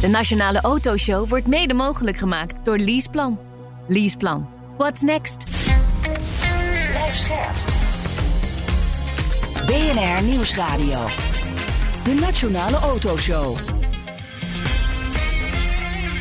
De Nationale Autoshow wordt mede mogelijk gemaakt door Leaseplan. Leaseplan. What's next? Blijf scherp. BNR Nieuwsradio. De Nationale Autoshow.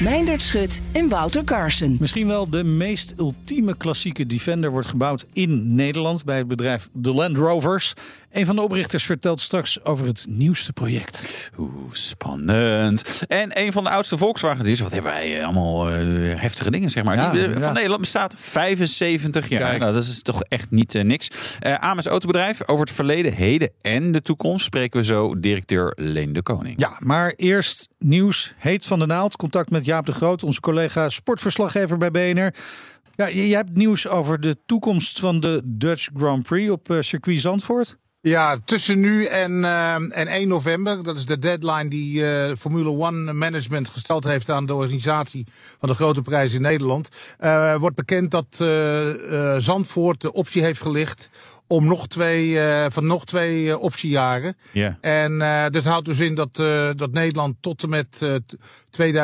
Meindert Schut en Wouter Carson. Misschien wel de meest ultieme klassieke Defender wordt gebouwd in Nederland bij het bedrijf The Land Rovers. Een van de oprichters vertelt straks over het nieuwste project. Oeh, spannend. En een van de oudste Volkswagen is, wat hebben wij eh, allemaal eh, heftige dingen zeg maar. Ja, Die, eh, inderdaad. van Nederland bestaat 75 jaar. Kijk. Nou, dat is toch echt niet eh, niks. Eh Ames Autobedrijf, over het verleden, heden en de toekomst spreken we zo directeur Leen de Koning. Ja, maar eerst nieuws heet van de naald. Contact met Jaap de Groot, onze collega sportverslaggever bij BNR. Ja, j- jij hebt nieuws over de toekomst van de Dutch Grand Prix op eh, circuit Zandvoort. Ja, tussen nu en, eh, en 1 november, dat is de deadline die eh, Formule One Management gesteld heeft aan de organisatie van de grote prijs in Nederland, eh, wordt bekend dat eh, eh, Zandvoort de optie heeft gelicht om nog twee, eh, van nog twee eh, optiejaren. Ja. En eh, dat houdt dus in dat, eh, dat Nederland tot en met eh, t-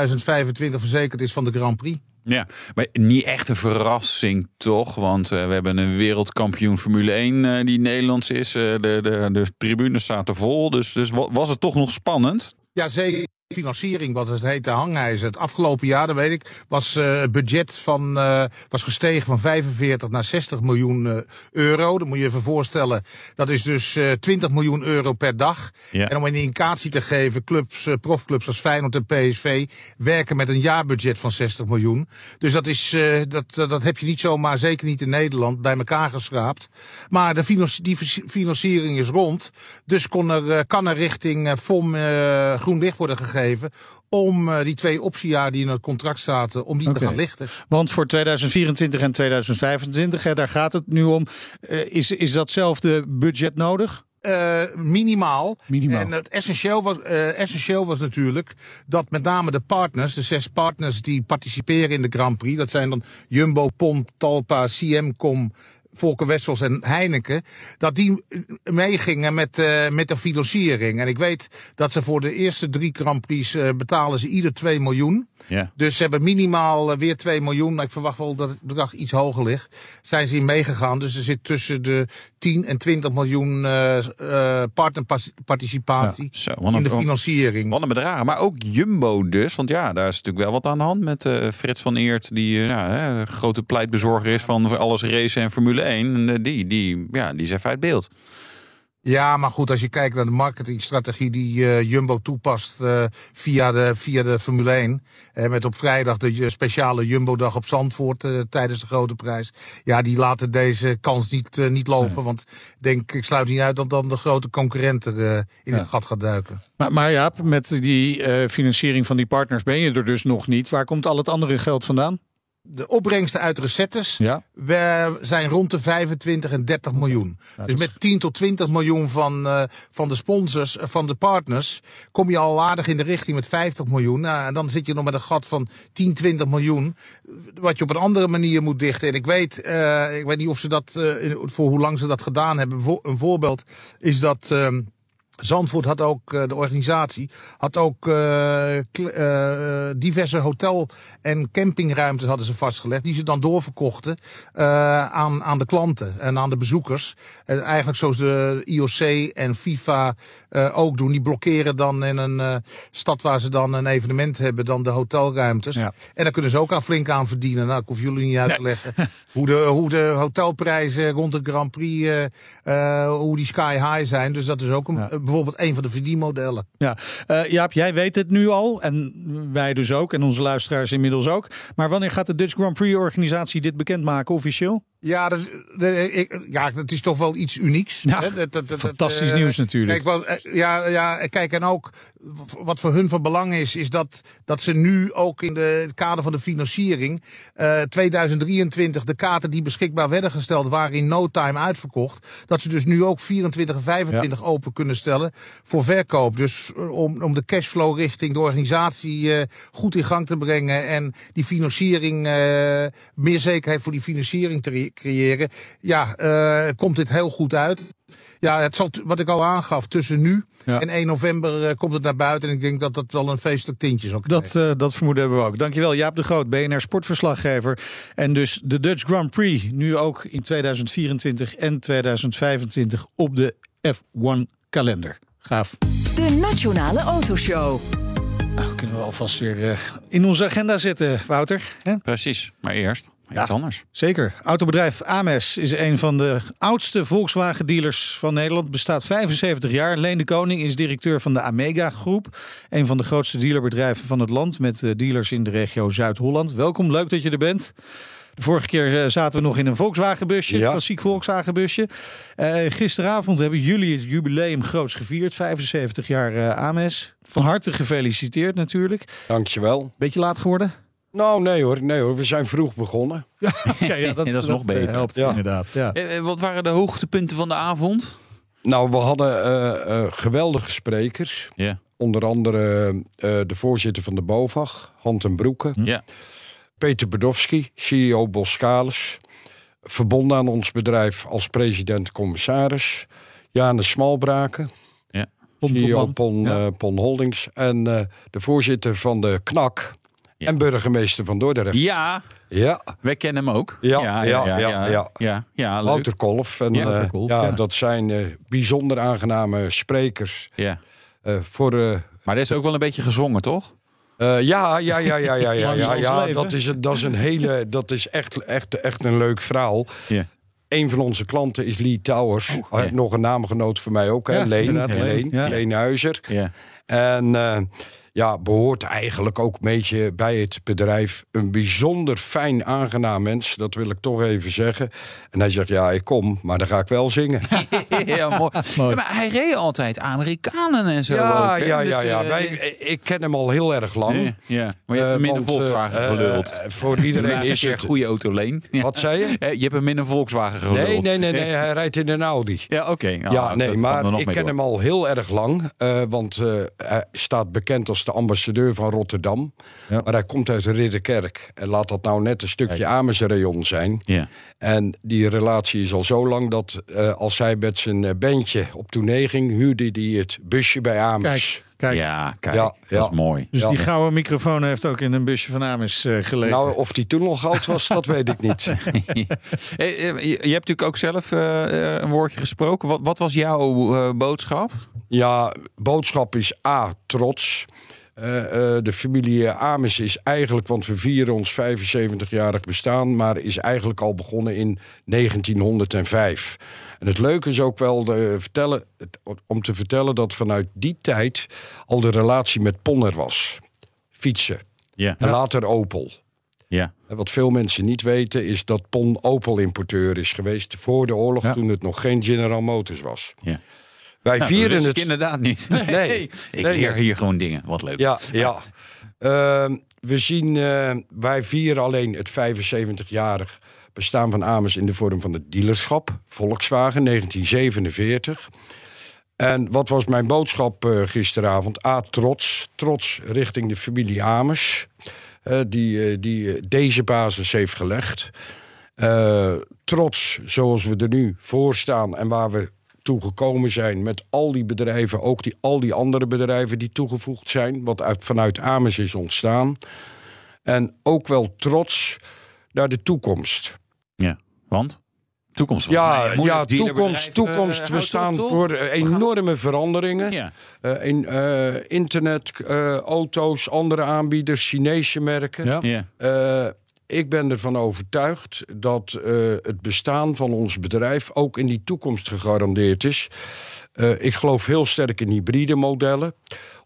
2025 verzekerd is van de Grand Prix. Ja, maar niet echt een verrassing toch? Want eh, we hebben een wereldkampioen Formule 1 eh, die Nederlands is. Eh, de, de, de tribunes zaten vol, dus, dus wa- was het toch nog spannend? Ja, zeker. Financiering, wat het heet, de hangijzer. Het afgelopen jaar, dat weet ik, was eh, het budget van, eh, was gestegen van 45 naar 60 miljoen eh, euro. Dat moet je je even voorstellen. Dat is dus eh 20 miljoen euro per dag. Ja. En om een indicatie te geven, clubs, eh, profclubs als Feyenoord en PSV werken met een jaarbudget van 60 miljoen. Dus dat, is, eh, dat, dat dat heb je niet zomaar, zeker niet in Nederland, bij elkaar geschraapt. Maar de financi- die vers- financiering is rond. Dus kon er, eh, kan er richting eh, FOM eh, groen licht worden gegeven. Om eh, die twee optiejaar die in het contract zaten, om die Oké. te gaan lichten. Want voor 2024 en 2025, hè, daar gaat het nu om. Eh, is, is datzelfde budget nodig? eh, minimaal. Minimaal. En het essentieel was, eh, essentieel was natuurlijk dat met name de partners, de zes partners die participeren in de Grand Prix, dat zijn dan Jumbo, Pomp, Talpa, CMCom, Volker Wessels en Heineken, dat die eh, meegingen met, eh, met de financiering. En ik weet dat ze voor de eerste drie Grand Prix eh, betalen ze ieder 2 miljoen. Ja. Dus ze hebben minimaal eh, weer 2 miljoen. Maar ik verwacht wel dat het bedrag iets hoger ligt. Zijn ze in meegegaan. Dus er zit tussen de 10 en 20 miljoen eh, eh, partnerparticipatie Zo, wat in de een, financiering. wat een bedrag. Maar ook Jumbo dus, want ja, daar is natuurlijk wel wat aan de hand met eh, Frits van Eert, die eh, ja, hè, grote pleitbezorger is van voor alles racen en Formule 1. En, eh, die, die, ja, die is even uit beeld. Ja, maar goed, als je kijkt naar de marketingstrategie die eh, Jumbo toepast eh, via, de, via de Formule 1. eh, met op vrijdag de eh, speciale Jumbo-dag op Zandvoort eh, tijdens de grote prijs. Ja, die laten deze kans niet, eh, niet lopen. Want ik denk, ik sluit niet uit dat dan de grote concurrenten eh, in het gat gaat duiken. Maar, maar Jaap, met die eh, financiering van die partners ben je er dus nog niet. Waar komt al het andere geld vandaan? De opbrengsten uit recettes Ja. we zijn rond de 25 en 30 miljoen. Nou, dat dus is- met 10 tot 20 miljoen van, eh, van de sponsors, eh, van de partners, kom je al aardig in de richting met 50 miljoen. Nou, en dan zit je nog met een gat van 10, 20 miljoen, eh, wat je op een andere manier moet dichten. En ik weet, eh, ik weet niet of ze dat, eh, in- voor hoe lang ze dat gedaan hebben. Voor- een voorbeeld is dat. ehm, Zandvoort had ook, eh, de organisatie, had ook eh, kle- eh, diverse hotel- en campingruimtes hadden ze vastgelegd. Die ze dan doorverkochten eh, aan, aan de klanten en aan de bezoekers. En eigenlijk zoals de IOC en FIFA eh, ook doen. Die blokkeren dan in een eh, stad waar ze dan een evenement hebben, dan de hotelruimtes. Ja. En daar kunnen ze ook aan flink aan verdienen. Nou, ik hoef jullie niet uit te leggen hoe, de, hoe de hotelprijzen rond de Grand Prix, eh, eh, hoe die sky high zijn. Dus dat is ook een, Ja. eh, bijvoorbeeld een van de verdienmodellen. Ja, Eh, Jaap, jij weet het nu al en wij dus ook en onze luisteraars inmiddels ook. Maar wanneer gaat de Dutch Grand Prix organisatie dit bekendmaken officieel? Ja, dat, de- ik, ja, dat is toch wel iets unieks. Ja, hè? Dat- dat- dat- fantastisch eh, nieuws natuurlijk. Kijk, wel, eh, ja, ja, kijk, en ook wat voor hun van belang is, is dat, dat ze nu ook in de, het kader van de financiering eh, 2023 de kaarten die beschikbaar werden gesteld waren in no time uitverkocht. Dat ze dus nu ook 24 en 25 open kunnen stellen voor verkoop. Dus eh, om, om de cashflow richting de organisatie eh, goed in gang te brengen en die financiering, eh, meer zekerheid voor die financiering te re- creëren. Ja, eh, komt dit heel goed uit. Ja, het zal, t- wat ik al aangaf, tussen nu Ja. en 1 november eh, komt het naar buiten. En ik denk dat dat wel een feestelijk tintje zal krijgen. Dat, eh, dat vermoeden hebben we ook. Dankjewel Jaap de Groot, BNR Sportverslaggever. En dus de Dutch Grand Prix nu ook in 2024 en 2025 op de F1 kalender. Gaaf. De Nationale Autoshow. Nou, kunnen we alvast weer eh, in onze agenda zetten, Wouter. Hè? Precies, maar eerst iets anders. Zeker. Autobedrijf Ames is een van de oudste Volkswagen-dealers van Nederland. Bestaat 75 jaar. Leen de Koning is directeur van de Amega Groep. Een van de grootste dealerbedrijven van het land. Met eh, dealers in de regio Zuid-Holland. Welkom, leuk dat je er bent. De vorige keer eh, zaten we nog in een Volkswagenbusje, Ja. klassiek Volkswagenbusje. Eh gisteravond hebben jullie het jubileum groots gevierd, 75 jaar eh, Ames. Van harte gefeliciteerd natuurlijk. Dankjewel. Beetje laat geworden? Nou, nee hoor, nee hoor. We zijn vroeg begonnen. Ja, ja, Dat is nog eh, beter. Helpt, Ja. inderdaad. Ja. Eh, eh, Wat waren de hoogtepunten van de avond? Nou, we hadden eh, eh, geweldige sprekers. Ja. Onder andere eh, de voorzitter van de BOVAG, Hand en Broeke. Ja. Peter Bedowski, CEO Boskalis. Verbonden aan ons bedrijf als president-commissaris. Janus Smalbraken, Ja. CEO Pompelman. Pon, Ja. eh, Pon Holdings. En eh, de voorzitter van de KNAK Ja. en burgemeester van Dordrecht. ja, Ja, wij kennen hem ook. Ja, ja, ja, ja, ja, ja. ja, ja, leuk. Wouter Kolf. En, Ja, ja, Wouter Kolf, ja, ja. dat zijn eh, bijzonder aangename sprekers. Ja. eh, voor, eh, Maar dat is ook wel een beetje gezongen, toch? eh, ja, ja, ja, ja, ja, ja, Lang is ja, ons ja. leven. Dat is, een- dat is een hele, dat is echt, echt, echt een leuk verhaal. Ja. Een van onze klanten is Lee Towers. ja. Eh, Nog een naamgenoot van mij ook, hè? Ja, Leen, inderdaad, Leen, Leen, ja. Leen Huizer. Ja. En eh, ja, behoort eigenlijk ook een beetje bij het bedrijf. Een bijzonder fijn, aangenaam mens, dat wil ik toch even zeggen. En hij zegt, ja, ik kom, maar dan ga ik wel zingen. ja, mooi. Ja, maar hij reed altijd Amerikanen en zo. ja, ook, hè? ja, Dus, ja, ja. eh, Wij, ik ken hem al heel erg lang. eh, ja. Maar je hebt Eh, hem in een want, Volkswagen eh, geluld. eh, voor iedereen is je het... een goede auto leen. Ja. Wat zei je? Eh, Je hebt hem in een Volkswagen geluld. Nee, nee, nee, nee, hij rijdt in een Audi. Ja, oké. Nou, Ja, dat nee, kwam er maar nog ik mee ken door. hem al heel erg lang. eh, want eh, hij staat bekend als de ambassadeur van Rotterdam. Ja. Maar hij komt uit de Ridderkerk. En laat dat nou net een stukje Amersrayon zijn. Ja. En die relatie is al zo lang dat eh, als hij met zijn eh, bandje op tournee ging... huurde hij het busje bij Amers. Kijk, kijk. Ja, kijk, Ja, dat ja. is mooi. Dus Ja. die gouden microfoon heeft ook in een busje van Ames eh, gelegen. Nou, of die toen nog goud was, dat weet ik niet. Eh, eh, je je hebt natuurlijk ook zelf eh, eh, een woordje gesproken. Wat, wat was jouw eh, boodschap? Ja, boodschap is A, trots. Eh, eh, de familie Ames is eigenlijk, want we vieren ons 75-jarig bestaan, maar is eigenlijk al begonnen in 1905. En het leuke is ook wel de, eh, vertellen, het- om te vertellen dat vanuit die tijd al de relatie met Ponner was. Fietsen. Ja. En later Opel. ja. En Wat veel mensen niet weten is dat Pon Opel-importeur is geweest voor de oorlog, Ja. toen het nog geen General Motors was. Ja. Wij Nou, dat vieren wist het. ik inderdaad niet. Nee, Nee. ik Nee, leer nee. hier gewoon dingen. Wat leuk. Ja, ja. Ehm, we zien, eh, wij vieren alleen het 75-jarig bestaan van Amers in de vorm van het dealerschap. Volkswagen, 1947. En wat was mijn boodschap eh, gisteravond? A, trots. Trots richting de familie Amers. eh, die eh, die eh, deze basis heeft gelegd. Eh, trots zoals we er nu voor staan en waar we toe gekomen zijn met al die bedrijven, ook die, al die andere bedrijven die toegevoegd zijn, wat uit, vanuit Ames is ontstaan. En ook wel trots naar de toekomst. Ja. Want? Toekomst. Ja, volgens mij, ja moeilijk toekomst, dealerbedrijf, eh, toekomst. We houdt staan op, toch? voor eh, enorme veranderingen. Ja. Eh, in, eh, internet, eh, auto's, andere aanbieders, Chinese merken. Ja. Ja. Eh, ik ben ervan overtuigd dat eh, het bestaan van ons bedrijf ook in die toekomst gegarandeerd is. Eh, ik geloof heel sterk in hybride modellen.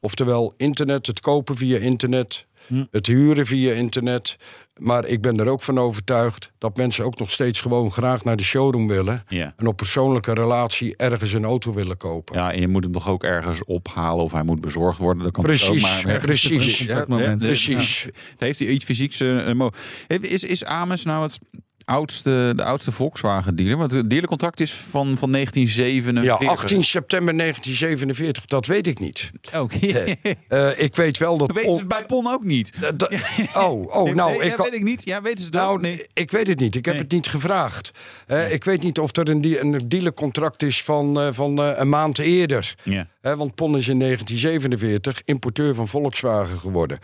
Oftewel internet, het kopen via internet, Hm. Het huren via internet. Maar ik ben er ook van overtuigd dat mensen ook nog steeds gewoon graag naar de showroom willen. Ja. En op persoonlijke relatie ergens een auto willen kopen. Ja, en je moet hem toch ook ergens ophalen of hij moet bezorgd worden. Dat kan Precies, ook, maar precies, Er is een ja, contactmoment. ja, precies. Ja. Heeft hij iets fysieks? eh, mo- Is, is Ames nou het oudste, de oudste Volkswagen dealer? Want het dealercontact is van, van 1947. Ja, 18 september 1947, dat weet ik niet. Oké. Eh, ik weet wel dat. Weet ze Oh, het bij Pon ook niet? Da- da- oh, oh, Nee, nou, nee, ik ja, kan- weet ik dus niet. Ja, weten ze dat? Nou, nee. ik weet het niet. Ik heb het niet gevraagd. Eh, Ik weet niet of er een, die- een dealercontract is van, eh, van eh, een maand eerder. Ja. Hè, want Pon is in 1947 importeur van Volkswagen geworden.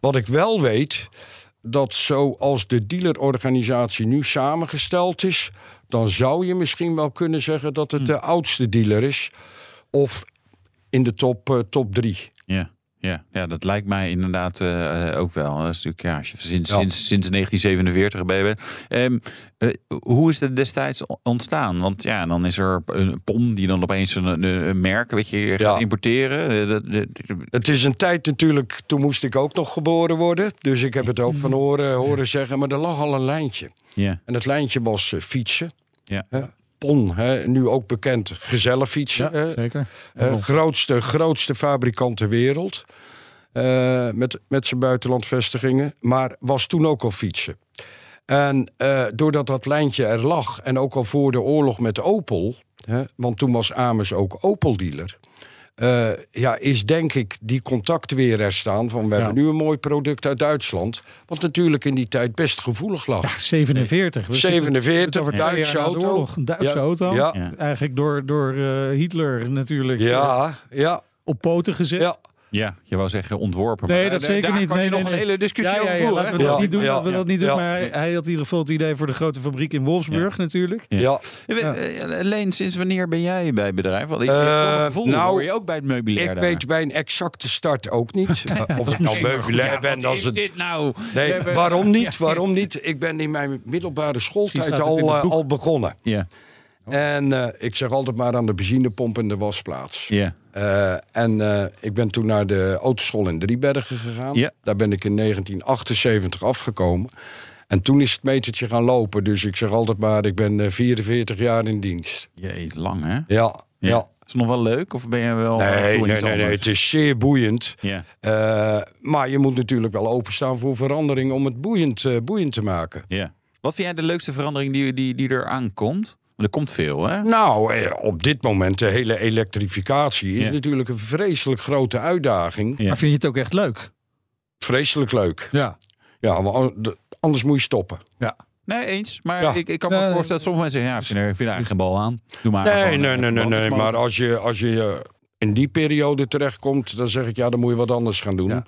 Wat ik wel weet, dat zoals de dealerorganisatie nu samengesteld is, dan zou je misschien wel kunnen zeggen dat Hm. het de oudste dealer is. Of in de top, eh, top drie. Ja. Ja, ja, dat lijkt mij inderdaad eh, eh, ook wel. Dat is natuurlijk, ja, als je sinds, Ja. sinds, sinds 1947 bij bent. Ehm, eh, hoe is het destijds ontstaan? Want ja, dan is er een pom die dan opeens een, een, een merk weet je, gaat Ja. importeren. Eh, dat- dat- Het is een tijd natuurlijk, toen moest ik ook nog geboren worden. Dus ik heb het ook van horen, horen zeggen, maar er lag al een lijntje. Ja, En het lijntje was eh, fietsen. ja. Hè? Pon, hè? nu ook bekend, gezellig fietsen. hè? zeker. Eh, grootste, grootste fabrikant ter wereld. Eh, met, met zijn buitenlandvestigingen. Maar was toen ook al fietsen. En eh, doordat dat lijntje er lag. En ook al voor de oorlog met Opel. Hè, want toen was Amers ook Opel-dealer. eh, ja, is denk ik die contact weer er staan. Van we Ja. hebben nu een mooi product uit Duitsland. Wat natuurlijk in die tijd best gevoelig lag. 47. We zitten- 47, over twee Duitse jaar na de auto. oorlog. Een Duitse Ja, auto. Ja, Ja. Eigenlijk door, door eh, Hitler natuurlijk eh, ja, ja. op poten gezet. ja. ja, je wou zeggen ontworpen. Nee, maar dat daar- zeker daar niet. kan je Nee, nee, nog nee. een hele discussie ja, over ja, ja, voeren, laten hè? we dat Ja, niet doen. ja, laten we dat ja, niet doen. ja. Maar hij, hij had in ieder geval het idee voor de grote fabriek in Wolfsburg natuurlijk. ja. Ja. Eh, Leen, sinds wanneer ben jij bij het bedrijf? Want ik ik- Eh, voor mijn gevoel nou, hoor je ook bij het meubilair. Ik daar. weet bij een exacte start ook niet. Eh, of ik nou Ja, meubilair ben, wat dat is is het. dit nou? We Nee, hebben- waarom niet? Waarom niet? Ik ben in mijn middelbare Misschien schooltijd staat het in al, het eh, boek. al begonnen. Ja, En eh, ik zeg altijd maar aan de benzinepomp en de wasplaats. ja. Eh, en eh, ik ben toen naar de autoschool in Driebergen gegaan. Ja. Daar ben ik in 1978 afgekomen. En toen is het metertje gaan lopen. Dus ik zeg altijd maar, ik ben eh, 44 jaar in dienst. Jee, lang hè? Ja, ja. Is het nog wel leuk of ben je wel... Nee, doe Oh, je nee, iets nee, nee, anders? het is zeer boeiend. Ja. Eh, maar je moet natuurlijk wel openstaan voor verandering om het boeiend, eh, boeiend te maken. ja. Wat vind jij de leukste verandering die, die, die er aankomt? Want er komt veel hè? Nou, eh, op dit moment de hele elektrificatie is Ja. natuurlijk een vreselijk grote uitdaging. Ja. Maar vind je het ook echt leuk? Vreselijk leuk. Ja. Ja, maar an- de- anders moet je stoppen. Nee, eens. Maar Ja. ik, ik kan me Nee, ook voorstellen dat sommige mensen zeggen... Ja, ik vind er, ik vind er eigenlijk geen bal aan. Doe maar Nee, gewoon, nee, eh, nee, nee, bal- nee. bal- Maar als je, als je eh, in die periode terechtkomt, dan zeg ik ja, dan moet je wat anders gaan doen. Ja.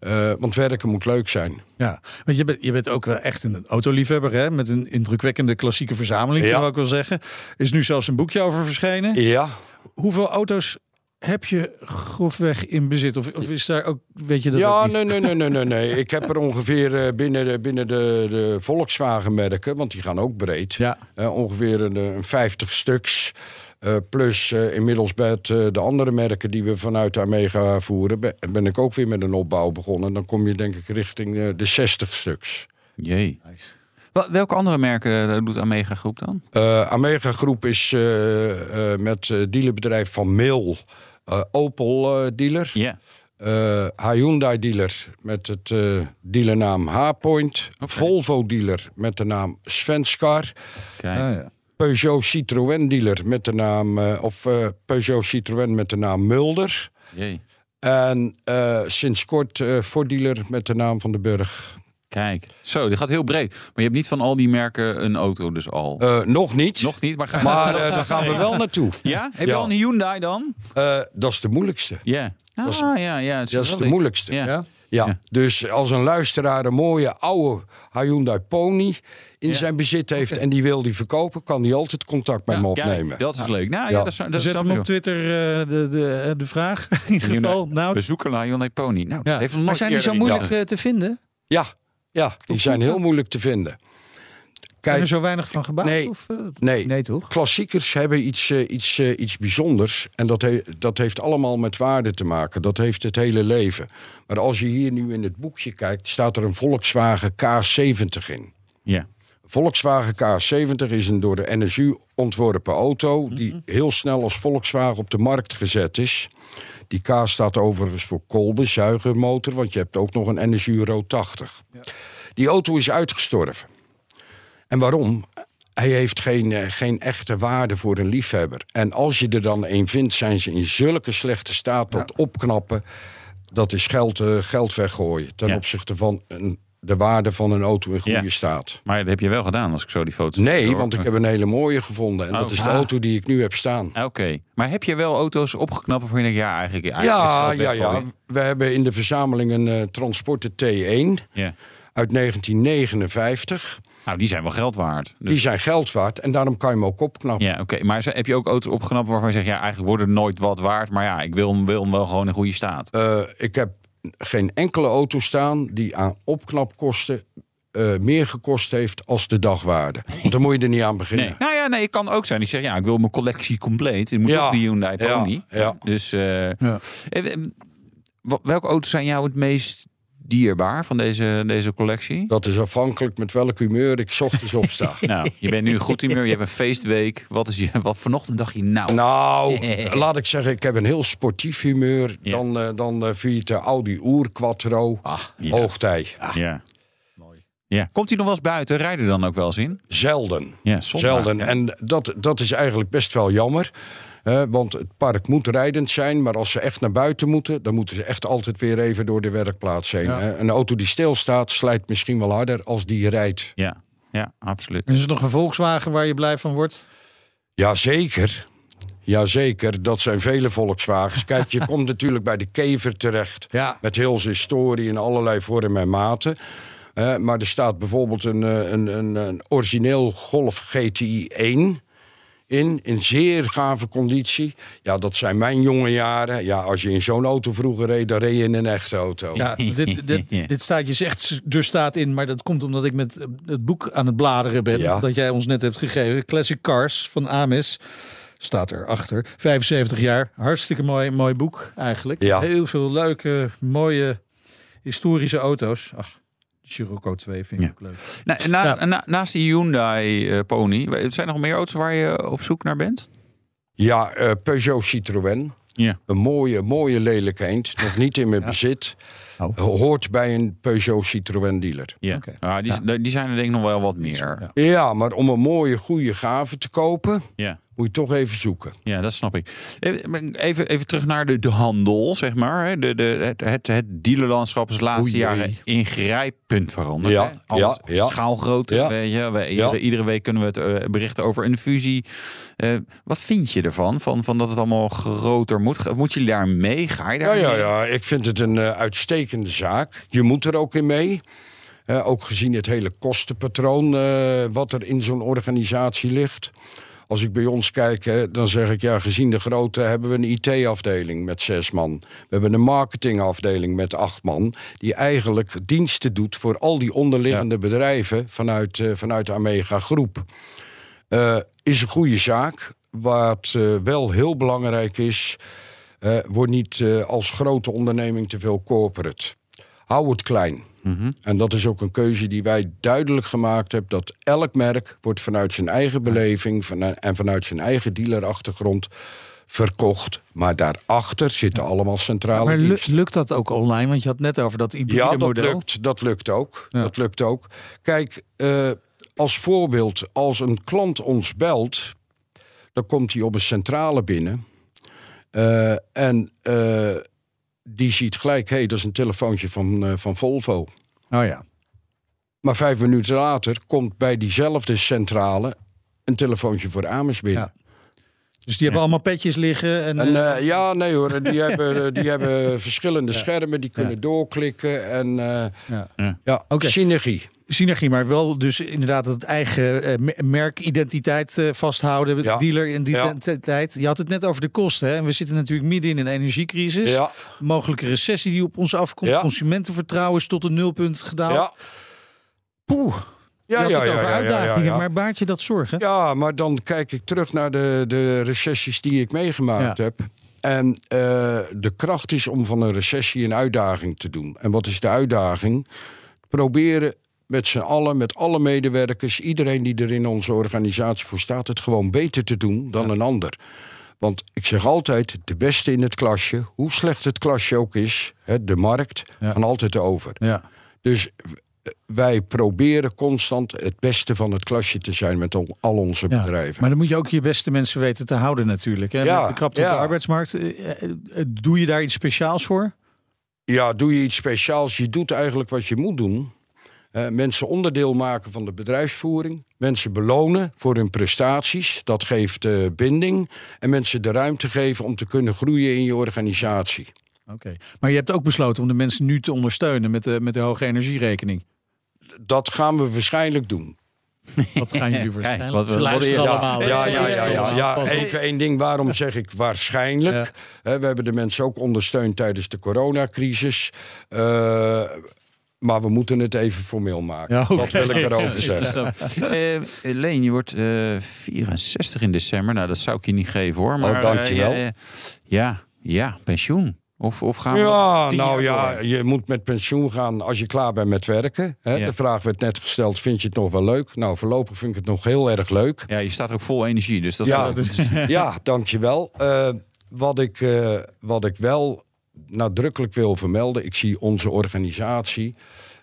Eh, want werken moet leuk zijn. Ja, want je bent, je bent ook wel echt een autoliefhebber, hè? Met een indrukwekkende klassieke verzameling, Ja. kan ik ook wel zeggen. Is nu zelfs een boekje over verschenen. Ja. Hoeveel auto's heb je grofweg in bezit? Of, of is daar ook, weet je dat ook Ja, niet? nee, nee, nee, nee, nee, nee. Ik heb er ongeveer eh, binnen, de- binnen de, de Volkswagen-merken, want die gaan ook breed. Ja. eh, ongeveer een, eh, een 50 stuks. Eh, plus eh, inmiddels met eh, de andere merken die we vanuit Amega voeren, ben, ben ik ook weer met een opbouw begonnen. Dan kom je denk ik richting eh, de 60 stuks. Jee. Wel- Welke andere merken eh, doet Amega Groep dan? Eh, Amega Groep is eh, eh, met eh, dealerbedrijf Van Mil, eh, Opel eh, dealer. Ja. Eh, Hyundai dealer met het eh, dealernaam H-Point. Volvo dealer met de naam Svenskar. Kijk. Ah, Peugeot Citroën dealer met de naam, eh, of eh, Peugeot Citroën met de naam Mulder. Jee. En eh, sinds kort eh Ford dealer met de naam Van de Burg. Kijk. Zo, die gaat heel breed. Maar je hebt niet van al die merken een auto dus al. Eh, nog niet, Nog niet, maar... ga- maar eh, daar gaan we wel naartoe. Ja? Heb je Ja. al een Hyundai dan? Eh, dat is de moeilijkste. Ja. Ah, ja, ja. het Dat is wel de leuk. moeilijkste. Ja. Ja. Ja, Ja. dus als een luisteraar een mooie oude Hyundai Pony in Ja. zijn bezit heeft en die wil die verkopen, kan die altijd contact met me Kijk, opnemen. dat is leuk. Nou ja, Ja. dat is, dat is Zet hem op Twitter eh, de, de, de vraag. In ieder geval, nou, Dus We zoeken naar Hyundai Pony. Nou, dat Ja. heeft Maar nog nooit eh, zijn die zo eerder moeilijk gedaan. eh, te vinden? Ja, ja die zijn komt heel dat? moeilijk te vinden. Zijn er zo weinig van gebouwd? Nee, Of, eh, dat- nee. toch? Klassiekers hebben iets, eh, iets, eh, iets bijzonders. En dat, he- dat heeft allemaal met waarde te maken. Dat heeft het hele leven. Maar als je hier nu in het boekje kijkt, staat er een Volkswagen K70 in. Ja. Volkswagen K70 is een door de NSU ontworpen auto. Mhm. Die heel snel als Volkswagen op de markt gezet is. Die K staat overigens voor kolbenzuigermotor, want je hebt ook nog een NSU Rood 80. Die auto is uitgestorven. En waarom? Hij heeft geen, eh, geen echte waarde voor een liefhebber. En als je er dan een vindt, zijn ze in zulke slechte staat dat opknappen. Dat is geld, eh, geld weggooien ten Ja. opzichte van een, de waarde van een auto in goede Ja. staat. Maar dat heb je wel gedaan als ik zo die foto's Nee, hoor. want ik heb een hele mooie gevonden. En Oh. dat is de Ah. auto die ik nu heb staan. Oké, maar heb je wel auto's opgeknapt waarvan je denkt, Ah, ja, eigenlijk... eigenlijk is het Ja, geld ja, ja. weggooien? We hebben in de verzameling een eh, Transporter T1 ja. uit 1959. Nou, die zijn wel geld waard. Dus- Die zijn geld waard en daarom kan je hem ook opknappen. Ja, oké. Maar ze- heb je ook auto's opgeknapt waarvan je zegt, ja, eigenlijk wordt het nooit wat waard. Maar ja, ik wil hem, wil hem wel gewoon in goede staat. Eh, ik heb geen enkele auto staan die aan opknapkosten eh, meer gekost heeft als de dagwaarde. Want dan moet je er niet aan beginnen. Nee. Nou ja, nee, het kan ook zijn. Die zegt, ja, ik wil mijn collectie compleet. Ik moet Ja. toch die Hyundai Ja, Pony. ja. Dus eh, eh, eh, wa- welke auto's zijn jou het meest dierbaar van deze, deze collectie? Dat is afhankelijk met welk humeur ik 's ochtends opsta. Nou, je bent nu een goed humeur. Je hebt een feestweek. Wat is je? Wat vanochtend dacht je nou? Nou, laat ik zeggen, ik heb een heel sportief humeur. Dan, eh dan eh, vind je het de Audi Oer Quattro. Ah, ja. Ah. Hoogtij. ja. Mooi. Ja. Komt hij nog wel eens buiten? Rijden dan ook wel eens in? Zelden. Ja, Zelden. En dat, dat is eigenlijk best wel jammer. hè, want het park moet rijdend zijn, maar als ze echt naar buiten moeten, dan moeten ze echt altijd weer even door de werkplaats heen. hè. Een auto die stilstaat, slijt misschien wel harder als die rijdt. Ja, ja absoluut. Is er nog een Volkswagen waar je blij van wordt? Jazeker. Jazeker, dat zijn vele Volkswagens. Kijk, je komt natuurlijk bij de kever terecht. Ja. Met heel zijn historie in allerlei vormen en maten. Eh, maar er staat bijvoorbeeld een, eh, een, een, een origineel Golf GTI 1 in. In zeer gave conditie. Ja, dat zijn mijn jonge jaren. Ja, als je in zo'n auto vroeger reed, dan reed je in een echte auto. Ja, dit, dit, dit staat je zegt er staat in, maar dat komt omdat ik met eh, het boek aan het bladeren ben. Ja. Dat jij ons net hebt gegeven. Classic Cars van Amis staat erachter. 75 jaar. Hartstikke mooi, mooi boek eigenlijk. Ja. Heel veel leuke, mooie historische auto's. Ach, Scirocco 2 vind ik Ja. ook leuk. Na- naast, na- naast die Hyundai eh, Pony, we- zijn er nog meer auto's waar je op zoek naar bent? Ja, eh, Peugeot Citroën. Ja. Een mooie, mooie lelijke eend. Nog niet in mijn bezit. Eh, Oh. Hoort bij een Peugeot Citroën dealer. ja. Oké. Ah, die, die zijn er denk ik nog wel wat meer. Ja. Ja, maar om een mooie, goede gave te kopen, Ja. moet je toch even zoeken. dat snap ik. Even, even terug naar de, de handel, zeg maar. hè. De, de, het, het, het dealerlandschap is de laatste Oei, oei. jaren ingrijpend veranderd. Ja, hè. Alles ja, ja. schaalgrootte, Ja. weet je. We, Ja. iedere, iedere week kunnen we het eh, berichten over een fusie. Eh, wat vind je ervan? Van, van dat het allemaal groter moet? Moet je daar mee? Ga je daar Ja, ja, mee? ja. Ik vind het een eh, uitstekende zaak. Je moet er ook in mee. Eh, ook gezien het hele kostenpatroon eh, wat er in zo'n organisatie ligt. Als ik bij ons kijk, eh, dan zeg ik ja, gezien de grootte hebben we een IT-afdeling met zes man. We hebben een marketingafdeling met acht man. Die eigenlijk diensten doet voor al die onderliggende bedrijven vanuit, eh, vanuit de Amega Groep. Eh, is een goede zaak. Wat eh, wel heel belangrijk is, eh, word niet eh, als grote onderneming te veel corporate. Hou het klein. Mhm. En dat is ook een keuze die wij duidelijk gemaakt hebben. Dat elk merk wordt vanuit zijn eigen beleving vana- en vanuit zijn eigen dealerachtergrond verkocht. Maar daarachter zitten allemaal centrale Maar lu- diensten. lukt dat ook online? Want je had net over dat hybride Ja, dat model. lukt. Dat lukt ook. Ja. Dat lukt ook. Kijk, eh, als voorbeeld, als een klant ons belt, dan komt hij op een centrale binnen. Eh, en eh, die ziet gelijk, hé, hey, dat is een telefoontje van, eh, van Volvo. Oh ja. Maar vijf minuten later komt bij diezelfde centrale een telefoontje voor Amers binnen. Ja. Dus die hebben allemaal petjes liggen. En, En, eh, eh, ja, nee hoor, die hebben, die hebben verschillende schermen, die kunnen doorklikken. En eh, Ja. ja, Oké. synergie. synergie, maar wel dus inderdaad het eigen eh, me- merkidentiteit eh, Ja. vasthouden. De dealer-identiteit. Je had het net over de kosten. Hè? En we zitten natuurlijk midden in een energiecrisis. Ja. Mogelijke recessie die op ons afkomt. Ja. Consumentenvertrouwen is tot een nulpunt gedaald. Ja. Poeh. Ja, ja, ja, ja, over ja, ja, uitdagingen, ja, ja. maar baart je dat zorgen? Ja, maar dan kijk ik terug naar de, de recessies die ik meegemaakt Ja. heb. En eh, de kracht is om van een recessie een uitdaging te doen. En wat is de uitdaging? Proberen met z'n allen, met alle medewerkers, iedereen die er in onze organisatie voor staat, het gewoon beter te doen dan een ander. Want ik zeg altijd, de beste in het klasje, hoe slecht het klasje ook is, hè, de markt, gaan altijd over. Dus eh, wij proberen constant het beste van het klasje te zijn met al, al onze Ja, bedrijven. Maar dan moet je ook je beste mensen weten te houden natuurlijk. Hè? Ja, Met de krapte op ja. de arbeidsmarkt. Eh, eh, eh, Doe je daar iets speciaals voor? Ja, doe je iets speciaals. Je doet eigenlijk wat je moet doen. Eh, mensen onderdeel maken van de bedrijfsvoering. Mensen belonen voor hun prestaties. Dat geeft eh, binding. En mensen de ruimte geven om te kunnen groeien in je organisatie. Oké. Maar je hebt ook besloten om de mensen nu te ondersteunen met de, met de hoge energierekening. Dat gaan we waarschijnlijk doen. Dat gaan jullie Kijk, waarschijnlijk. wat we- Ze wat luisteren eerder. allemaal. Ja, hè? ja, ja, Ze ja, luisteren ja. allemaal. Even één ding. Waarom zeg ik waarschijnlijk? Hè, we hebben de mensen ook ondersteund tijdens de coronacrisis. Eh, maar we moeten het even formeel maken. Ja, oké. Dat wil ik erover Is zeggen. dat zo? Eh, Leen, je wordt eh, 64 in december. Nou, dat zou ik je niet geven hoor. Maar, dankjewel. eh, eh, ja, ja, pensioen. Of, of gaan we nog Ja, tien nou jaar ja, door? je moet met pensioen gaan als je klaar bent met werken. Hè? Ja. De vraag werd net gesteld, vind je het nog wel leuk? Nou, voorlopig vind ik het nog heel erg leuk. Ja, je staat er ook vol energie. Dus dat is ja, wel- ja, dankjewel. Eh wat, ik, eh, wat ik wel nadrukkelijk wil vermelden, ik zie onze organisatie,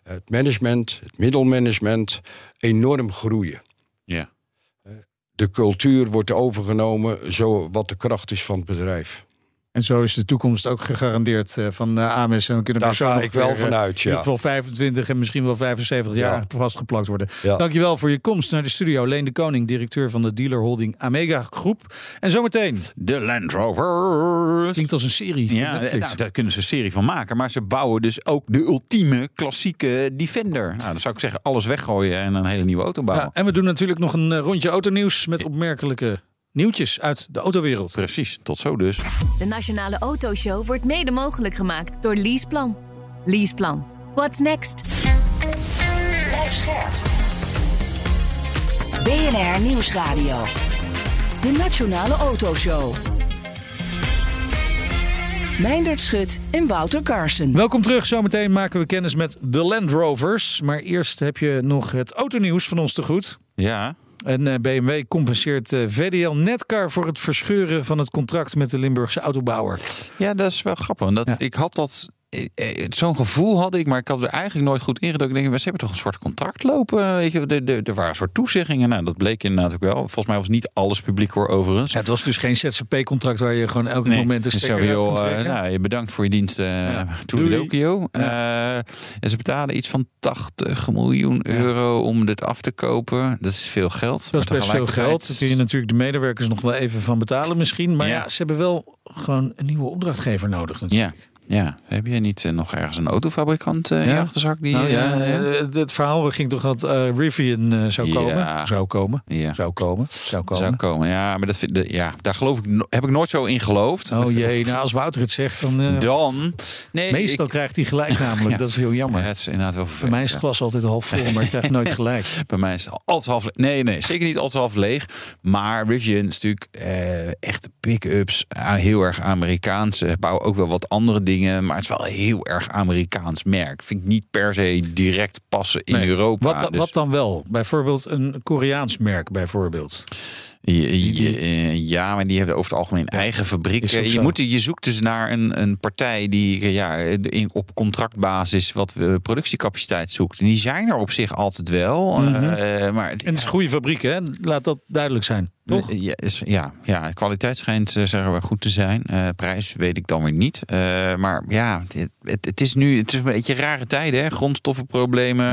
het management, het middelmanagement, enorm groeien. Eh, ja. De cultuur wordt overgenomen, zo wat de kracht is van het bedrijf. En zo is de toekomst ook gegarandeerd eh, van eh AMS. En dan kunnen Daar we zo ga nog ik wel weer, eh, vanuit, ja. In ieder geval 25 en misschien wel 75 jaar vastgeplakt worden. Ja. Dankjewel voor je komst naar de studio. Leen de Koning, directeur van de dealerholding Amega Groep. En zometeen. De Land Rover. Klinkt als een serie. van Ja, Netflix. nou, daar kunnen ze een serie van maken. Maar ze bouwen dus ook de ultieme klassieke Defender. Nou, dan zou ik zeggen, alles weggooien en een hele nieuwe auto bouwen. Ja, en we doen natuurlijk nog een eh, rondje autonieuws met opmerkelijke nieuwtjes uit de autowereld. Precies, tot zo dus. De Nationale Autoshow wordt mede mogelijk gemaakt door Leaseplan. Leaseplan. What's next? Blijf scherp. BNR Nieuwsradio. De Nationale Autoshow. Meindert Schut en Wouter Carson. Welkom terug. Zometeen maken we kennis met de Land Rovers. Maar eerst heb je nog het autonieuws van ons te goed. Ja, En eh, BMW compenseert eh, VDL Netcar voor het verscheuren van het contract met de Limburgse autobouwer. ja dat is wel grappig. want Dat, Ik had dat... eh, eh, Zo'n gevoel had ik, maar ik had er eigenlijk nooit goed in gedoken. Ik denk, maar ze hebben toch een soort contract lopen? Weet je, er, er, er waren een soort toezeggingen. Nou, dat bleek inderdaad ook wel. Volgens mij was niet alles publiek hoor, overigens. het was dus geen ZZP-contract waar je gewoon elk moment een dus stekker zo, uit kon joh, eh, trekken. nou, je bedankt voor je dienst. eh Toedeledokie. Eh, en ze betalen iets van 80 miljoen euro om dit af te kopen. Dat is veel geld. Dat is maar best veel tegelijkertijd- geld. Daar kun je natuurlijk de medewerkers nog wel even van betalen misschien. Maar ja, Ja. ze hebben wel gewoon een nieuwe opdrachtgever nodig natuurlijk. Ja, ja. Heb jij niet eh, nog ergens een autofabrikant eh, in je achterzak? Die, Nou ja, eh, eh, het verhaal ging toch dat eh, Rivian eh, zou Ja. komen? Zou komen. ja. Zou komen. Zou komen. Zou komen, ja, maar dat vind, de- ja, daar geloof ik, no- heb ik nooit zo in geloofd. Oh jee, nou als Wouter het zegt, dan... eh, Dan, nee, meestal ik- krijgt hij gelijk namelijk. Ja. Dat is heel jammer. Ja, het is inderdaad wel Bij vervelend, mij is het ja. glas altijd half vol, maar ik krijg nooit gelijk. Bij mij is het altijd half leeg. Nee, nee, zeker niet altijd half leeg. Maar Rivian is natuurlijk eh, echt pick-ups. ah, heel erg Amerikaans. Ze bouwen ook wel wat andere dingen. Maar het is wel een heel erg Amerikaans merk. Vind ik niet per se direct passen in Nee. Europa. Wat, Dus- wat dan wel? Bijvoorbeeld een Koreaans merk, bijvoorbeeld. Ja, ja, eh, ja, maar die hebben over het algemeen eigen is ook fabrieken. Je, zo. moet, je zoekt dus naar een, een partij die ja, in, op contractbasis wat eh, productiecapaciteit zoekt. En die zijn er op zich altijd wel. Mhm. eh, maar het- En het is een goede fabriek, hè? Laat dat duidelijk zijn. Toch? Ja, is- ja, ja, kwaliteit schijnt eh, zeggen we goed te zijn. Eh, prijs weet ik dan weer niet. Eh, maar ja, het, het, het is nu het is een beetje rare tijden. Hè? Grondstoffenproblemen,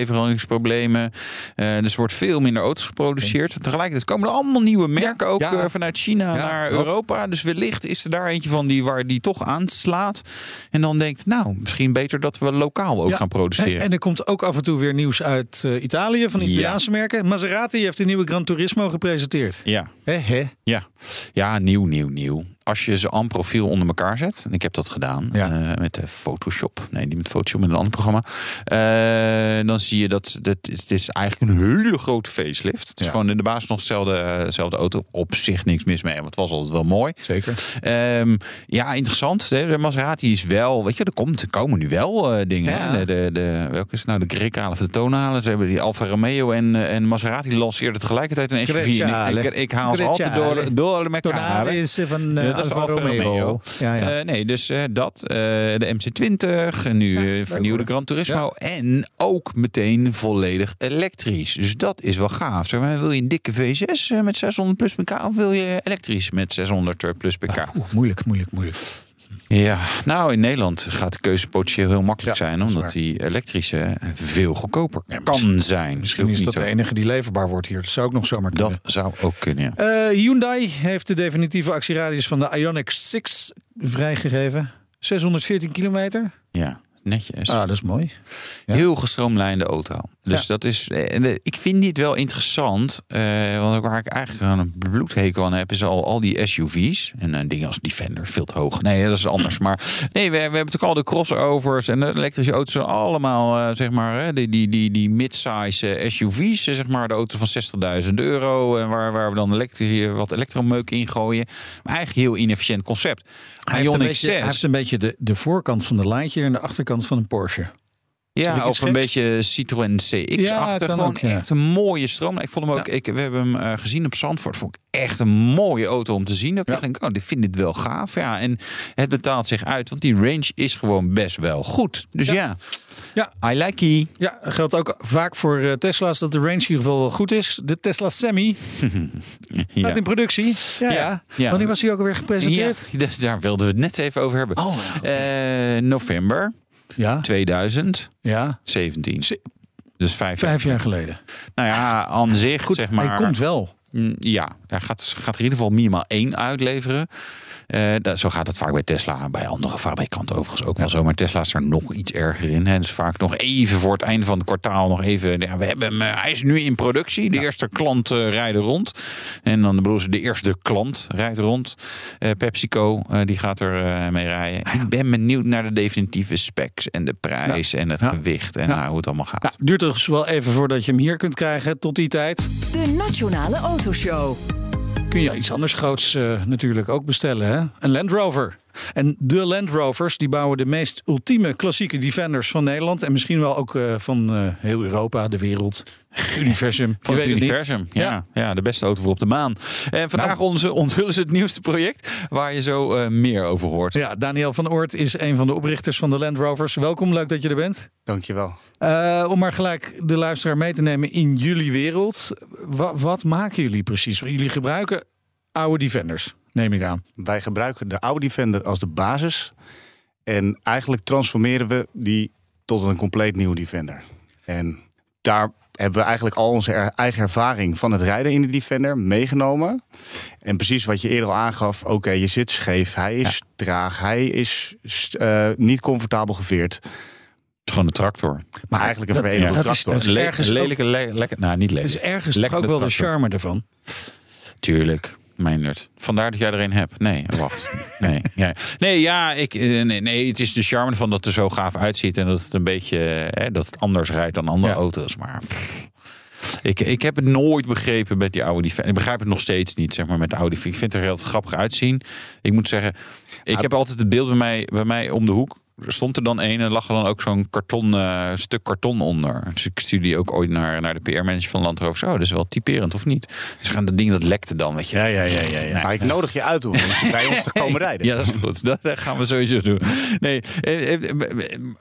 onderdelenleveringsproblemen. Eh, dus er wordt veel minder auto's geproduceerd. Tegelijkertijd komen er allemaal nieuwe merken ook ja. eh, vanuit China Ja, naar dat. Europa. Dus wellicht is er daar eentje van die waar die toch aanslaat. En dan denkt, nou, misschien beter dat we lokaal ook Ja. gaan produceren. En, en er komt ook af en toe weer nieuws uit eh, Italië, van Ja. Italiaanse merken. Maserati heeft de nieuwe Gran Turismo gepresenteerd. ja. Hè, hè? Ja. ja, nieuw, nieuw, nieuw. als je ze aan profiel onder elkaar zet, en ik heb dat gedaan eh, met eh, Photoshop, nee, niet met Photoshop, met een ander programma, eh, dan zie je dat, dat is- het is eigenlijk een hele grote facelift. Het is gewoon in de basis nog dezelfde, eh, dezelfde auto. Op zich niks mis mee, want het was altijd wel mooi. Ehm, Zeker. ja, interessant. Hè? De Maserati is wel, weet je, er, komt, er komen nu wel eh, dingen. Ja. hè. De, de, de, welke is het nou de Grekale of de Tonale? Ze hebben die Alfa Romeo en, eh, en Maserati lanceerden tegelijkertijd een SUV. En ik, ik, ik haal ze altijd door, door elkaar. Tonale hè. is eh, van eh, Ja, dat is Alfa Alfa Romeo. Romeo. Ja, ja. Eh, nee, dus eh, dat. eh, de MC20. En nu eh, vernieuwde Gran Turismo. En ook meteen volledig elektrisch. Dus dat is wel gaaf. Zeg maar, wil je een dikke V6 eh, met 600 plus pk? Of wil je elektrisch met 600 plus pk? Ah, Oeh, moeilijk, moeilijk, moeilijk. Ja, nou in Nederland gaat de keuze potentieel heel makkelijk zijn. waar. Omdat die elektrische veel goedkoper kan zijn. Misschien is dat de enige die leverbaar wordt hier. Dat zou ook nog zomaar kunnen. Dat zou ook kunnen, ja. Eh, Hyundai heeft de definitieve actieradius van de Ioniq 6 vrijgegeven. 614 kilometer. Ja, netjes. Ah, dat is mooi. Heel gestroomlijnde auto. Dus dat is. eh, eh, Ik vind dit wel interessant. eh, want waar ik eigenlijk aan een bloedhekel aan heb, is al, al die SUV's. En eh, dingen als Defender veel te hoog. Nee, dat is anders. Maar nee, we, we hebben natuurlijk al de crossovers en de elektrische auto's. zijn Allemaal, eh, zeg maar, hè, die, die, die, die mid-size eh, SUV's. eh, Zeg maar, de auto van 60.000 euro. En waar, waar we dan elektri- wat elektromeuk in gooien. Maar eigenlijk heel inefficiënt concept. Hij heeft, een Ioniq beetje, hij 6. heeft een beetje de, de voorkant van de lijntje en de achterkant van een Porsche. Zeg ik Ja, iets of een geks? beetje Citroën Ja, CX-achtig. kan gewoon ook, ja. echt een mooie stroom. Ik vond hem ook, ik, we hebben hem eh, gezien op Zandvoort. Vond ik echt een mooie auto om te zien. Dat ik echt denk, oh, dit vind ik wel gaaf. Ja, en het betaalt zich uit, want die range is gewoon best wel goed. Dus ja, ja. I like he. Ja, geldt ook vaak voor eh, Tesla's dat de range in ieder geval wel goed is. De Tesla Semi gaat in productie. Ja, ja. ja. Wanneer was hij ook alweer gepresenteerd? Ja, dus daar wilden we het net even over hebben. Oh, Eh, november ja. 2017. Ja. Dus vijf, Vijf jaar geleden. Nou ja, aan zich Goed, zeg hij maar. komt wel. Mm, Ja, hij gaat, gaat er in ieder geval minimaal één uitleveren. Eh, dat, zo gaat het vaak bij Tesla en bij andere fabrikanten overigens ook wel zo. Maar Tesla is er nog iets erger in. Hè. Dus vaak nog even voor het einde van het kwartaal nog even. Ja, we hebben hem, eh, hij is nu in productie. De eerste klant eh rijden rond. En dan bedoelen ze de eerste klant rijdt rond. Eh, PepsiCo eh, die gaat er eh, mee rijden. Ik ben benieuwd naar de definitieve specs en de prijs en het gewicht en nou, hoe het allemaal gaat. Duurt dus wel even voordat je hem hier kunt krijgen. Tot die tijd De Nationale Autoshow. kun je iets anders groots eh, natuurlijk ook bestellen. Hè? Een Land Rover. En de Land Rovers die bouwen de meest ultieme klassieke Defenders van Nederland. En misschien wel ook eh, van eh, heel Europa, de wereld, het universum. Van Je het weet niet. universum. Ja, ja. Nou. de beste auto voor op de maan. En vandaag onze, onthullen ze het nieuwste project waar je zo eh, meer over hoort. Ja, Daniel van Oort is een van de oprichters van de Land Rovers. Welkom, leuk dat je er bent. Dankjewel. Eh, om maar gelijk de luisteraar mee te nemen in jullie wereld. Wa- wat maken jullie precies? Jullie gebruiken oude Defenders, neem ik aan. Wij gebruiken de oude Defender als de basis. En eigenlijk transformeren we die tot een compleet nieuwe Defender. En daar hebben we eigenlijk al onze er- eigen ervaring van het rijden in de Defender meegenomen. En precies wat je eerder al aangaf. Oké, je zit scheef. Hij is traag. Hij is st- eh, niet comfortabel geveerd. Gewoon een tractor. Maar eigenlijk een Dat- verenigde ja, dat is- tractor. dat is Le- ergens ook- lelijke, le- lekker- nou, niet lelijk. Dus ergens toch Lekker ook wel de tractor. charme ervan. Tuurlijk. Meindert. Vandaar dat jij er een hebt. Nee, wacht. Nee, ja. nee, ja, ik, eh, nee, nee, het is de charme van dat het er zo gaaf uitziet. En dat het een beetje eh, hè, dat het anders rijdt dan andere auto's. Maar pff, ik, ik heb het nooit begrepen met die oude Defender. Ik begrijp het nog steeds niet, zeg maar, met de oude Defender. Ik vind het er heel grappig uitzien. Ik moet zeggen, ik heb altijd het beeld bij mij, bij mij om de hoek. Er stond er dan een en lag er dan ook zo'n karton, eh, stuk karton onder. Dus ik stuurde die ook ooit naar, naar de PR-manager van Land Rover. Zo, dat is wel typerend, of niet? Dus gaan dat ding, dat lekte dan, weet je. Ja, ja, ja. ja, Maar ik nodig je uit om bij ons te komen rijden. Ja, dat is goed. Dat dat gaan we sowieso doen. Nee, eh, eh,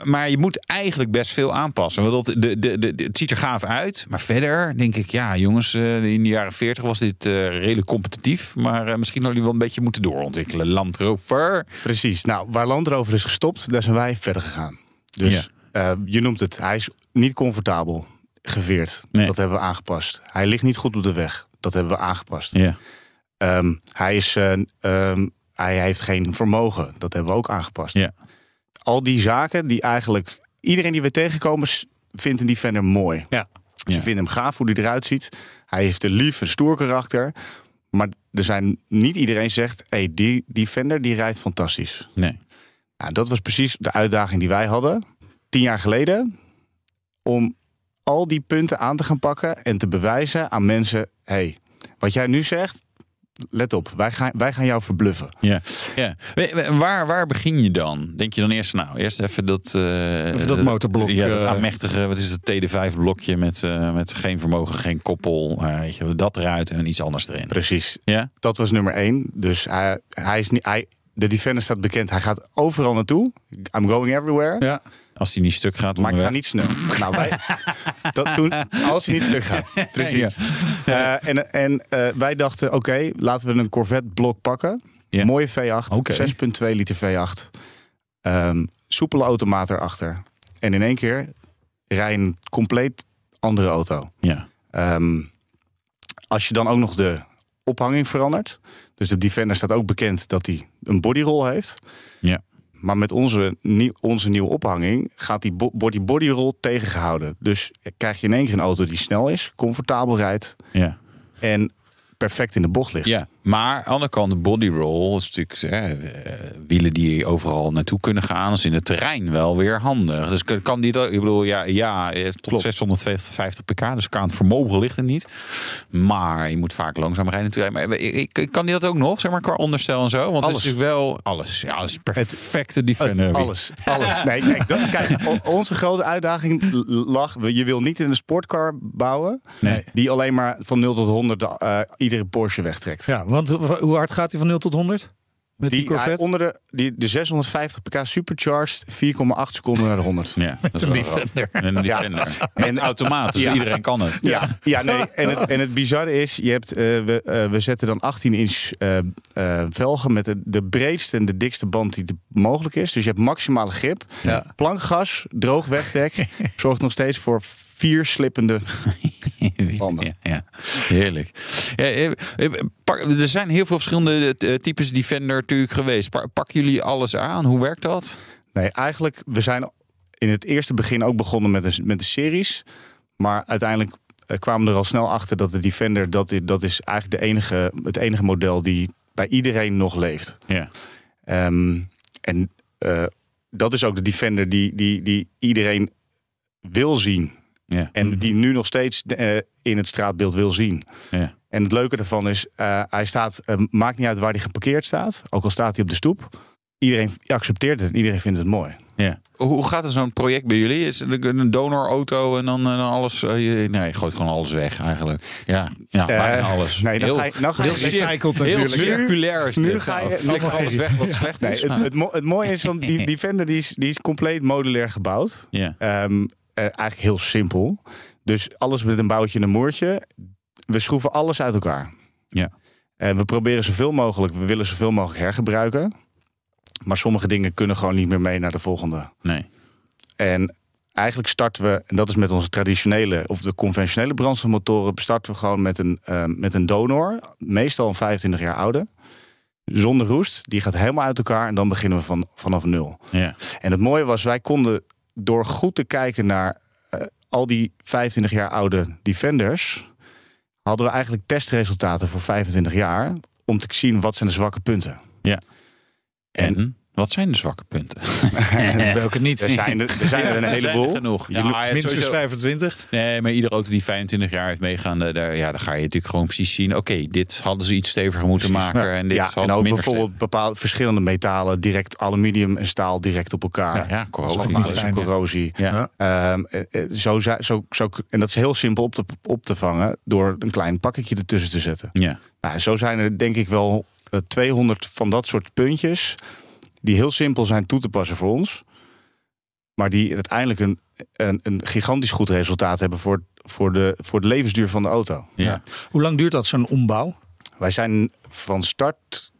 maar je moet eigenlijk best veel aanpassen. Want dat, de, de, de, het ziet er gaaf uit. Maar verder denk ik, ja, jongens, eh, in de jaren 40 was dit eh, redelijk competitief. Maar eh, misschien hadden jullie wel een beetje moeten doorontwikkelen. Land Rover. Precies. Nou, waar Land Rover is gestopt, daar zijn wij verder gegaan. Dus eh, je noemt het, hij is niet comfortabel geveerd. Dat hebben we aangepast. Hij ligt niet goed op de weg. Dat hebben we aangepast. Ehm, hij, is, eh, ehm, hij heeft geen vermogen. Dat hebben we ook aangepast. Al die zaken die eigenlijk iedereen die we tegenkomen s- vindt een Defender mooi. Ja. Ze vinden hem gaaf hoe hij eruit ziet. Hij heeft een lief en stoer karakter. Maar er zijn, niet iedereen zegt, hey, die, die Fender die rijdt fantastisch. Nee. Nou, dat was precies de uitdaging die wij hadden tien jaar geleden. Om al die punten aan te gaan pakken en te bewijzen aan mensen: hey, wat jij nu zegt, let op, wij gaan, wij gaan jou verbluffen. Ja. ja. We- we- Waar, waar begin je dan? Denk je dan eerst, nou, eerst even dat... eh, Even dat motorblok, Ja, dat eh, aanmächtige, wat is het, TD5-blokje met, eh, met geen vermogen, geen koppel. eh, weet je, wel, dat eruit en iets anders erin. Precies. Ja? Dat was nummer één. Dus hij, hij is niet, hij, de Defender staat bekend. Hij gaat overal naartoe. I'm going everywhere. Ja. Als die niet stuk gaat Maar ik ga onderweg. niet snel. nou, wij, dat doen als hij niet terug gaat. Precies. Eh, en en eh, wij dachten, oké, laten we een Corvette blok pakken. Mooie V8, 6.2 liter V8. Ehm, soepele automaat erachter. En in één keer rij je een compleet andere auto. Ja. Ehm, als je dan ook nog de ophanging verandert. Dus de Defender staat ook bekend dat hij een bodyroll heeft. Ja. Maar met onze, nieuw- onze nieuwe ophanging gaat die bo- wordt die bodyroll tegengehouden. Dus krijg je in één keer een auto die snel is, comfortabel rijdt Ja. en perfect in de bocht ligt. Ja, maar aan de andere kant, de body roll is natuurlijk hè, eh, wielen die overal naartoe kunnen gaan. Dat is in het terrein wel weer handig. Dus kan- kan die dat? Ik bedoel, ja, ja eh, tot 650 pk, dus qua het vermogen ligt het niet. Maar je moet vaak langzaam rijden. natuurlijk. Maar eh, ik, ik- kan die dat ook nog, zeg maar, qua onderstel en zo? Want Alles. het is natuurlijk wel alles. Ja, het is perfecte defender. Het- Wie- alles, alles. Nee, kijk, dat, kijk o- onze grote uitdaging l- lag... Je wil niet een sportcar bouwen... Nee. die alleen maar van 0 tot 100 de- eh, iedere Porsche wegtrekt. Ja, want ho- hoe hard gaat hij van 0 tot 100? Met die, Die, hij- Corvette? onder de, die, de 650 pk supercharged, 4,8 seconden naar de 100. Ja, dat is een wel grappig. Defender. En een Defender. En automaat, dus Ja. iedereen kan het. Ja, ja nee. En het, en het bizarre is, je hebt, eh, we, eh, we zetten dan 18 inch eh, eh, velgen met de, de breedste en de dikste band die de- mogelijk is. Dus je hebt maximale grip. Plankgas, droog wegdek, zorgt nog steeds voor vier slippende banden. Ja, heerlijk. Ja, eh, eh, pak- er zijn heel veel verschillende eh, types Defender natuurlijk geweest. Pa- Pakken jullie alles aan? Hoe werkt dat? Nee, eigenlijk, we zijn in het eerste begin ook begonnen met een, met een series. Maar uiteindelijk eh, kwamen we er al snel achter dat de Defender... dat, i- dat is eigenlijk de enige, het enige model die bij iedereen nog leeft. Ja. Ehm, en eh, dat is ook de Defender die, die, die iedereen wil zien. Ja. En die nu nog steeds eh, in het straatbeeld wil zien. Ja. En het leuke ervan is, eh, hij staat, eh, maakt niet uit waar hij geparkeerd staat. Ook al staat hij op de stoep. Iedereen accepteert het en iedereen vindt het mooi. Ja. Hoe hoe gaat er zo'n project bij jullie? Is het een donorauto en dan, en dan alles? eh, je- nee, je gooit gewoon alles weg eigenlijk. Ja, ja Eh, bijna alles. nee, dan heel, ga je- nou ga je- heel cir- Recycled heel natuurlijk. circulair is dit. Nu ga Nou, je- flik alles weg wat slecht Nee, is. het, Nou, het, mo- het mooie is, want die, die Fender die is, die is compleet modulair gebouwd. Ja. Ehm, eh, eigenlijk heel simpel. Dus alles met een boutje en een moertje. We schroeven alles uit elkaar. ja. En we proberen zoveel mogelijk, we willen zoveel mogelijk hergebruiken. Maar sommige dingen kunnen gewoon niet meer mee naar de volgende. Nee. En eigenlijk starten we, en dat is met onze traditionele of de conventionele brandstofmotoren, starten we gewoon met een, eh, met een donor, meestal een 25 jaar oude, zonder roest. Die gaat helemaal uit elkaar en dan beginnen we van, vanaf nul. Ja. En het mooie was, wij konden door goed te kijken naar eh, al die 25 jaar oude Defenders, hadden we eigenlijk testresultaten voor 25 jaar om te zien wat zijn de zwakke punten. ja. En wat zijn de zwakke punten? welke niet? Er zijn er, er, zijn er een Er zijn er heleboel. genoeg. Je Ja, noemt- hij heeft Minstens sowieso- 25. Nee, maar iedere auto die 25 jaar heeft meegaan, eh, daar, ja, dan ga je natuurlijk gewoon precies zien. Oké, dit hadden ze iets steviger moeten maken. En dit ja, hadden en ze ook minder bijvoorbeeld bepaalde verschillende metalen, direct aluminium en staal direct op elkaar. Ja, ja, corrosie. Dat is allemaal Ja. een corrosie. Ja. Ehm, eh, eh, zo, za- zo, zo, en dat is heel simpel op te, op te vangen door een klein pakketje ertussen te zetten. stevig. Ja. Nou, zo zijn er denk ik wel eh, 200 van dat soort puntjes die heel simpel zijn toe te passen voor ons. Maar die uiteindelijk een, een, een gigantisch goed resultaat hebben voor, voor, de, voor de levensduur van de auto. Ja. Hoe lang duurt dat, zo'n ombouw? Wij zijn van start,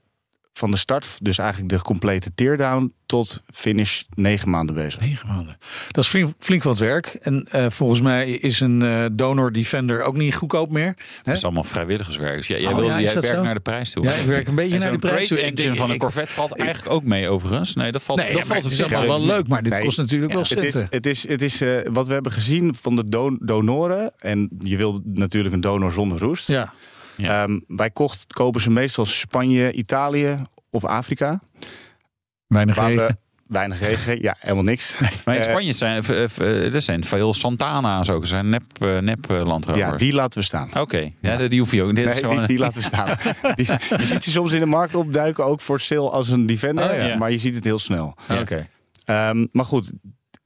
van de start, dus eigenlijk de complete teardown tot finish negen maanden bezig. Negen maanden. Dat is flink, flink wat werk. En eh, volgens mij is een eh, donor defender ook niet goedkoop meer. Hè? Dat is allemaal vrijwilligerswerk. Dus jij, jij, Oh wil, ja, is jij dat werkt zo? naar de prijs toe. Ja, ik werk een beetje En naar zo'n de prijs toe. brake Ik denk- engine van een ik- Corvette valt eigenlijk ook mee overigens. Nee, dat valt, Nee, dat maar valt het is op zich allemaal wel mee. leuk, maar dit Nee, kost natuurlijk wel Het is, centen. het is, het is eh, wat we hebben gezien van de don- donoren. En je wil natuurlijk een donor zonder roest. Ja. Ehm, wij kocht, kopen ze meestal Spanje, Italië of Afrika. Weinig Waar we- weinig regen, ja, helemaal niks. Maar in Eh, Spanje zijn eh, eh, eh, er zijn veel Santana's ook. Er zijn nep, eh, nep eh, landrovers. Ja, die laten we staan. Oké, ja. die- die hoef je ook. Dit nee, is gewoon... die, die laten we staan. Die- je ziet ze soms in de markt opduiken, ook voor sale als een defender. Oh, ja. Maar je ziet het heel snel. Ja. Ehm, maar goed,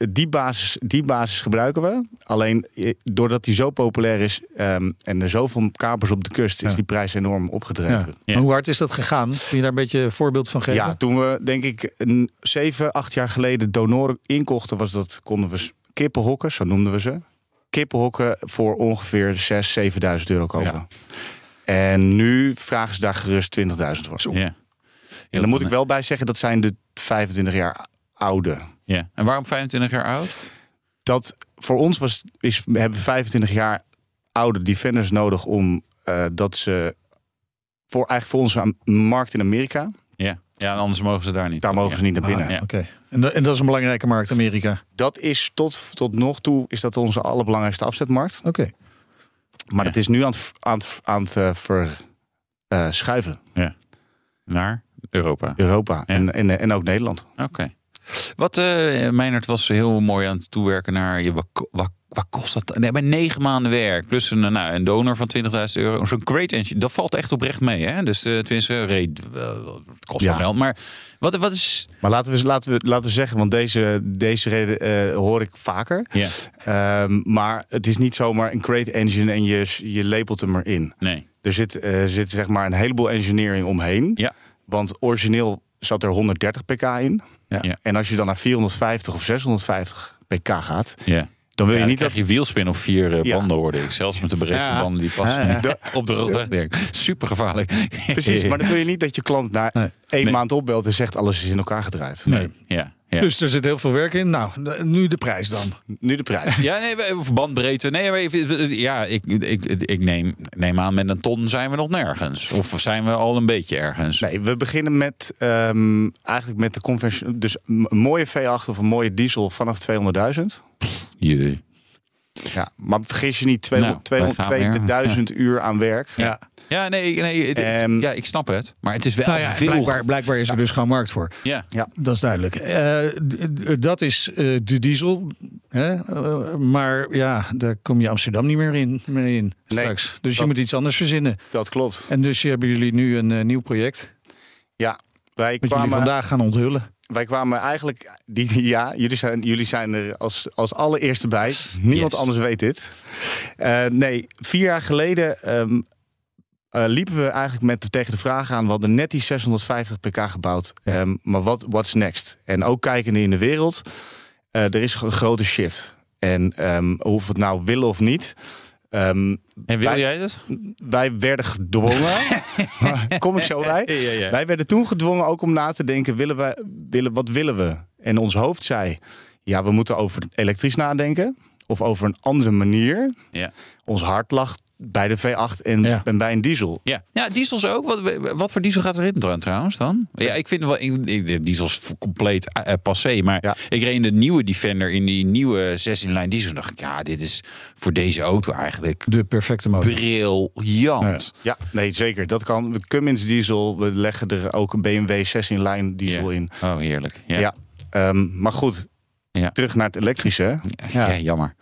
die basis, die basis gebruiken we. Alleen eh, doordat die zo populair is ehm, en er zoveel kapers op de kust, is die prijs enorm Ja. opgedreven. Maar Hoe hard is dat gegaan? Kun je daar een beetje een voorbeeld van geven? Ja, toen we denk ik een, zeven, acht jaar geleden donoren inkochten, was dat, konden we s- kippenhokken, zo noemden we ze. Kippenhokken voor ongeveer 6, 7.000 euro kopen. En nu vragen ze daar gerust 20.000 voor. Ja. En dan moet ik wel bij zeggen, dat zijn de 25 jaar oude. Ja. En waarom 25 jaar oud? Dat voor ons was, is, we hebben 25 jaar oude defenders nodig om eh, dat ze voor, eigenlijk voor onze am- markt in Amerika, Ja. ja, en anders mogen ze daar niet. daar mogen ze niet naar binnen. Ja. Oké. En, da- en dat is een belangrijke markt, Amerika. Dat is tot, tot nog toe is dat onze allerbelangrijkste afzetmarkt. Oké. Maar het is nu aan het, v- aan het, v- aan het eh, ver- eh, schuiven. Ja. Naar Europa. Europa en, en, en ook Nederland. Oké. Wat, eh Meijnerd was heel mooi aan het toewerken naar je. Wat, wat, wat kost dat? Nee, bij negen maanden werk. Plus een, eh, nou, een donor van 20.000 euro. Zo'n great engine. Dat valt echt oprecht mee. Hè? Dus eh tenminste, reed, eh, het kost wel geld. Maar wat, wat is. Maar laten we, laten we, laten we zeggen, want deze, deze reden eh, hoor ik vaker. Ja. Ehm, maar het is niet zomaar een crate engine en je, je labelt hem erin. Nee. Er zit, eh, zit zeg maar een heleboel engineering omheen. Ja. Want origineel zat er 130 pk in. Ja. En als je dan naar 450 of 650 pk gaat, Ja. dan wil Ja, je niet krijg dat je wielspin op vier eh, Ja. banden hoorde ik. Zelfs met de bereste Ja. banden die passen Ja, ja. op de rug wegdenk. Super gevaarlijk. Precies, maar dan wil je niet dat je klant na één Nee. maand opbelt en zegt alles is in elkaar gedraaid. Ja, ja. Dus er zit heel veel werk in. Nou, de- nu de prijs dan. Nu de prijs. Ja, nee, we- of bandbreedte. Nee, maar even- ja, ik, ik, ik neem, neem aan, met een ton zijn we nog nergens. Of zijn we al een beetje ergens. Nee, we beginnen met ehm, eigenlijk met de convention. Dus een mooie V8 of een mooie diesel vanaf 200.000. Jee. Ja, maar vergis je niet, Nou, 200 wij gaan weer. 200 200.000 uur aan werk. Ja. Ja, nee, nee het- het- ja, ik snap het. Maar het is wel Nou ja, veel. blijkbaar, blijkbaar is er dus gewoon markt voor. Ja. Ja. Dat is duidelijk. Eh, d- d- dat is eh, de diesel. Hè? Eh, maar ja, daar kom je Amsterdam niet meer in, mee in straks. dus je dat- moet iets anders verzinnen. Dat klopt. En dus hebben jullie nu een eh, nieuw project. Ja, wij Wat jullie kwamen vandaag gaan onthullen. Wij kwamen eigenlijk, die, ja, jullie zijn, jullie zijn er als, als allereerste bij. Niemand Yes. anders weet dit. Eh, nee, vier jaar geleden ehm, eh, liepen we eigenlijk met, tegen de vraag aan. We hadden net die 650 pk gebouwd. Ehm, maar wat what's next? En ook kijkende in de wereld, eh, er is een grote shift. En ehm of we het nou willen of niet. ehm, En wil wij- jij dat? wij werden gedwongen. Kom ik zo bij? Ja, ja, ja. Wij werden toen gedwongen ook om na te denken: willen we, willen, wat willen we? En ons hoofd zei: ja, we moeten over elektrisch nadenken. Of over een andere manier. Ja. Ons hart lag bij de V8 en, Ja. en bij een diesel. Ja. ja, diesels ook. Wat, wat voor diesel gaat erin tr- trouwens dan? Ja, ik vind wel, ik, ik- de diesels v- compleet eh, eh, passé. Maar Ja. ik reed de nieuwe Defender in die nieuwe 16-lijn diesel. En dacht ik, ja, dit is voor deze auto eigenlijk De perfecte motor. briljant. Ja, nee, zeker. Dat kan. We Cummins diesel, we leggen er ook een BMW 16-lijn diesel in. Oh, heerlijk. Ja, Ja. ja. Ehm, maar goed, Ja. terug naar het elektrische. jammer.